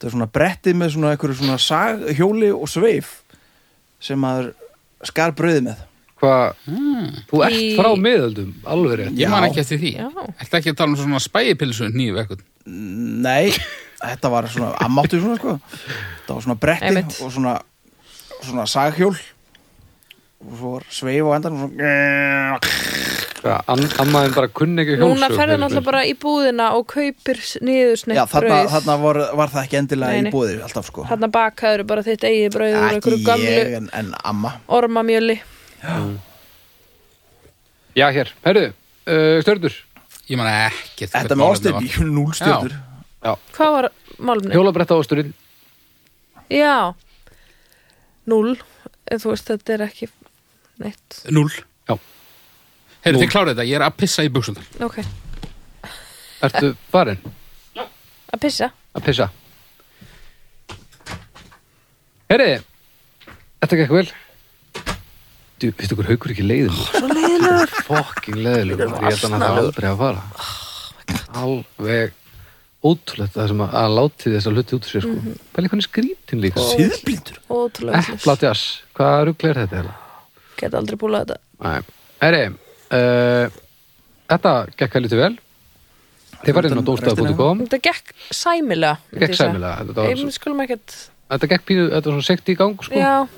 Speaker 1: Það er svona brettið með svona einhverju svona sag, hjóli og sveif sem maður skar brauðið með
Speaker 4: Hvað, þú ert
Speaker 3: Í-
Speaker 4: frá miðöldum, alveg rétt
Speaker 1: Já.
Speaker 2: Ég man ekki eftir því.
Speaker 3: Já.
Speaker 2: Ertu ekki að tala um svona spæjipilsu nýju verkun?
Speaker 1: Nei, þetta var svona ammáttu svona sko Það var svona bretti
Speaker 3: Einmitt.
Speaker 1: og svona, svona saghjól og svo var sveif á endan og svona
Speaker 4: Hvað, am- Ammaðin bara kunni ekki
Speaker 3: Núna
Speaker 4: hjólsög
Speaker 3: ferði
Speaker 4: fyrir
Speaker 3: náttúrulega bara í búðina og kaupir s- niður
Speaker 1: Já,
Speaker 3: snett
Speaker 1: þarna,
Speaker 3: brauð
Speaker 1: þarna var, var það ekki endilega
Speaker 3: Nei, nei.
Speaker 1: í búðir alltaf sko
Speaker 3: Þarna bakaður bara þitt eigið brauð úr
Speaker 1: Ekki
Speaker 3: einhverju gamlu
Speaker 1: ég en, en amma
Speaker 3: ormamjöli
Speaker 4: mér. Já, hér, herðu, uh, stjörnur
Speaker 2: Ég man ekki eftir
Speaker 1: Þetta
Speaker 2: hvert
Speaker 1: með
Speaker 2: málefnið
Speaker 1: ástin
Speaker 2: var.
Speaker 1: í núlstjöndur
Speaker 3: Hvað var málumni?
Speaker 4: Hjólabretta ásturinn,
Speaker 3: Já Núll En Þú veist, þetta er ekki neitt
Speaker 2: Núll.
Speaker 4: Já.
Speaker 2: Heyrðu,
Speaker 4: Núll.
Speaker 2: þið klárið þetta, ég er að pissa í buksundar.
Speaker 3: Ok, Eh.
Speaker 4: ertu farin
Speaker 3: að pissa
Speaker 4: að pissa Herri, þetta gekk vel Þú, veistu hver haukur er ekki leiðin Oh, Svo leiðilegur Fucking leiðilegur, ég held hann að það aldrei að fara
Speaker 3: Oh
Speaker 4: Alveg ótrúlegt það sem að, að láti þess að hluti út úr sér sko.
Speaker 3: Mhm.
Speaker 4: mm -hmm. Bæli hvernig skrítin líka
Speaker 1: Síðblindur
Speaker 3: Ótrúlega
Speaker 4: Epla
Speaker 3: vitlaus.
Speaker 4: Eh, djass, hvaða rugl er þetta heila?
Speaker 3: Get aldrei búlað þetta
Speaker 4: Nei. Herri, uh, þetta gekk helviti vel Þið farið inn á
Speaker 1: Utan
Speaker 4: dóstað.com
Speaker 3: Þetta gekk sæmilega myndi
Speaker 4: Gekk
Speaker 3: ég segja.
Speaker 4: sæmilega, þetta var-
Speaker 3: Ég mun skulum ekkert
Speaker 4: Þetta gekk pínu, þetta var svona sekt í gang sko.
Speaker 3: Já,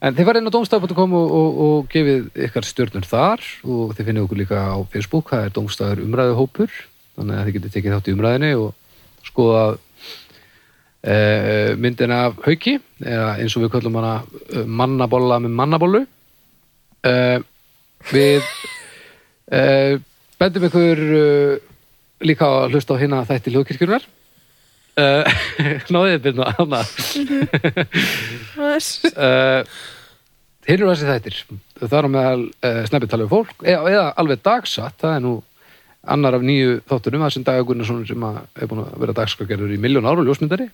Speaker 4: En þið farið inn á domstaf.com og, og, og gefið ykkar stjörnur þar og þið finnið okkur líka á Facebook, það er domstafur umræðuhópur, þannig að þið getið tekið þátt í umræðinni og skoða e, myndina af hauki, eða eins og við köllum hana eh, mannabolla með mannabollu. E, við e, bendum ykkur e, líka á að hlusta á hérna þætti hljóðkirkjurnar. E, náðið byrna hana.
Speaker 3: það er-
Speaker 4: uh, hinn eru þessi þættir þar á meðal uh, snabbi tala við fólk eða, eða alveg dagsatt, það er nú annar af nýju þáttunum, það sem Dagur Gunnarsson sem að er búin að vera dagskagerður í miljón ára og ljósmyndari,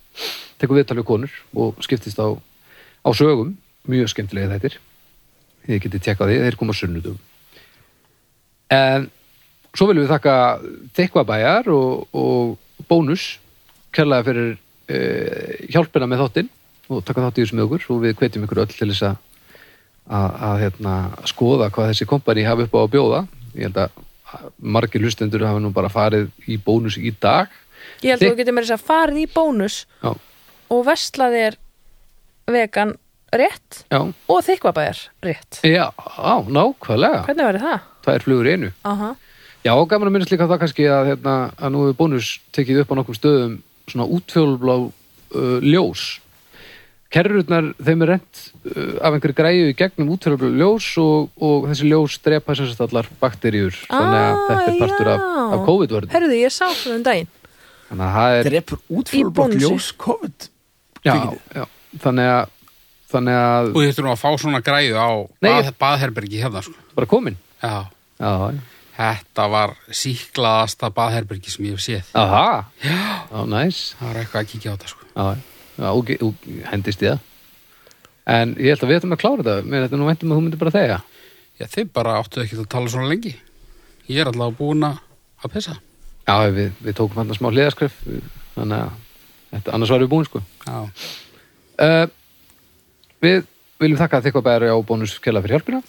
Speaker 4: tekur viðtal við konur og skiptist á, á sögum mjög skemmtilega þættir þið getið tjekkað því, þeir koma á sunnudum en svo viljum við þakka Þekkvabæjar og, og bónus kærlega fyrir uh, hjálpina með þáttinn og taka þátt í þessu með okkur og við hvetjum ykkur öll til þess að að, að hérna, skoða hvað þessi kompani hafi upp á að bjóða ég held að margir hlustendur hafa nú bara farið í bónus í dag
Speaker 3: Ég held að
Speaker 4: Þið-
Speaker 3: þú getur mér þess að farið í bónus
Speaker 4: já,
Speaker 3: og vesla þér vegan rétt
Speaker 4: já,
Speaker 3: og þykvabæjar rétt
Speaker 4: já, á, nákvæmlega
Speaker 3: Hvernig verður það?
Speaker 4: það er flugur í einu
Speaker 3: Aha.
Speaker 4: Já, og gaman að minnast líka á það kannski að, hérna, að nú er bónus tekið upp á nokkrum stöðum svona útfjólblá uh, ljós. Kerrurnar, þeim er rent uh, af einhverju græju í gegnum útfjólblá ljós og, og þessi ljós drepa sem sagt allar bakteríur. Þannig að þetta
Speaker 3: Ah,
Speaker 4: er partur af, af COVID-vörðum.
Speaker 3: Herðu, ég sá svona um daginn
Speaker 4: Þannig að það er...
Speaker 1: Drepur útfjólublokk
Speaker 3: bónusi.
Speaker 1: ljós COVID
Speaker 4: Já,
Speaker 1: kvikindi.
Speaker 4: já, þannig að þannig að
Speaker 2: Og þú þurftum að fá svona græðu á
Speaker 4: Nei,
Speaker 2: bað,
Speaker 4: ég-
Speaker 2: baðherbergi hérna, sko.
Speaker 4: bara komin
Speaker 2: Já,
Speaker 4: já, já.
Speaker 2: þetta var síklaðasta baðherbergi sem ég hef séð.
Speaker 4: aha,
Speaker 2: Já.
Speaker 4: já, næs
Speaker 2: Það var eitthvað að kíkja á þetta, sko.
Speaker 4: já, já, já, og, ge- og hendist í það en ég held að við ætlum að klára þetta mér þetta nú væntum að þú myndir bara þegja
Speaker 2: Já, þið bara áttu ekki að tala svona lengi. Ég er allavega búin að að pissa.
Speaker 4: já, við, við tókum hann að smá hliðaskref þannig að þetta, annars varum við búin sko
Speaker 2: Já.
Speaker 4: uh, við viljum þakka þig og bæri á bónus kjalla fyrir hjálpina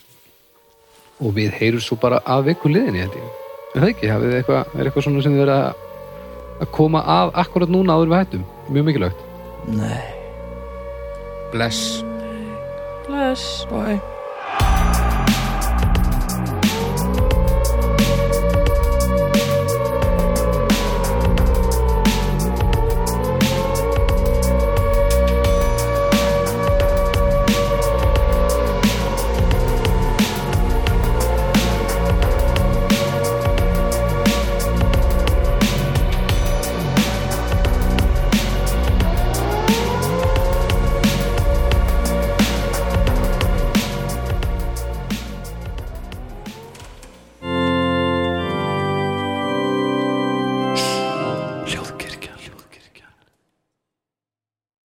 Speaker 4: og við heyrum svo bara að viku liðinni held ég, er það ekki, hafið þið eitthvað er eitthvað svona sem þið verið að að koma að akkurat núna áður en við hættum mjög mikilvægt
Speaker 1: Nei,
Speaker 2: Bless.
Speaker 3: Bless
Speaker 1: bye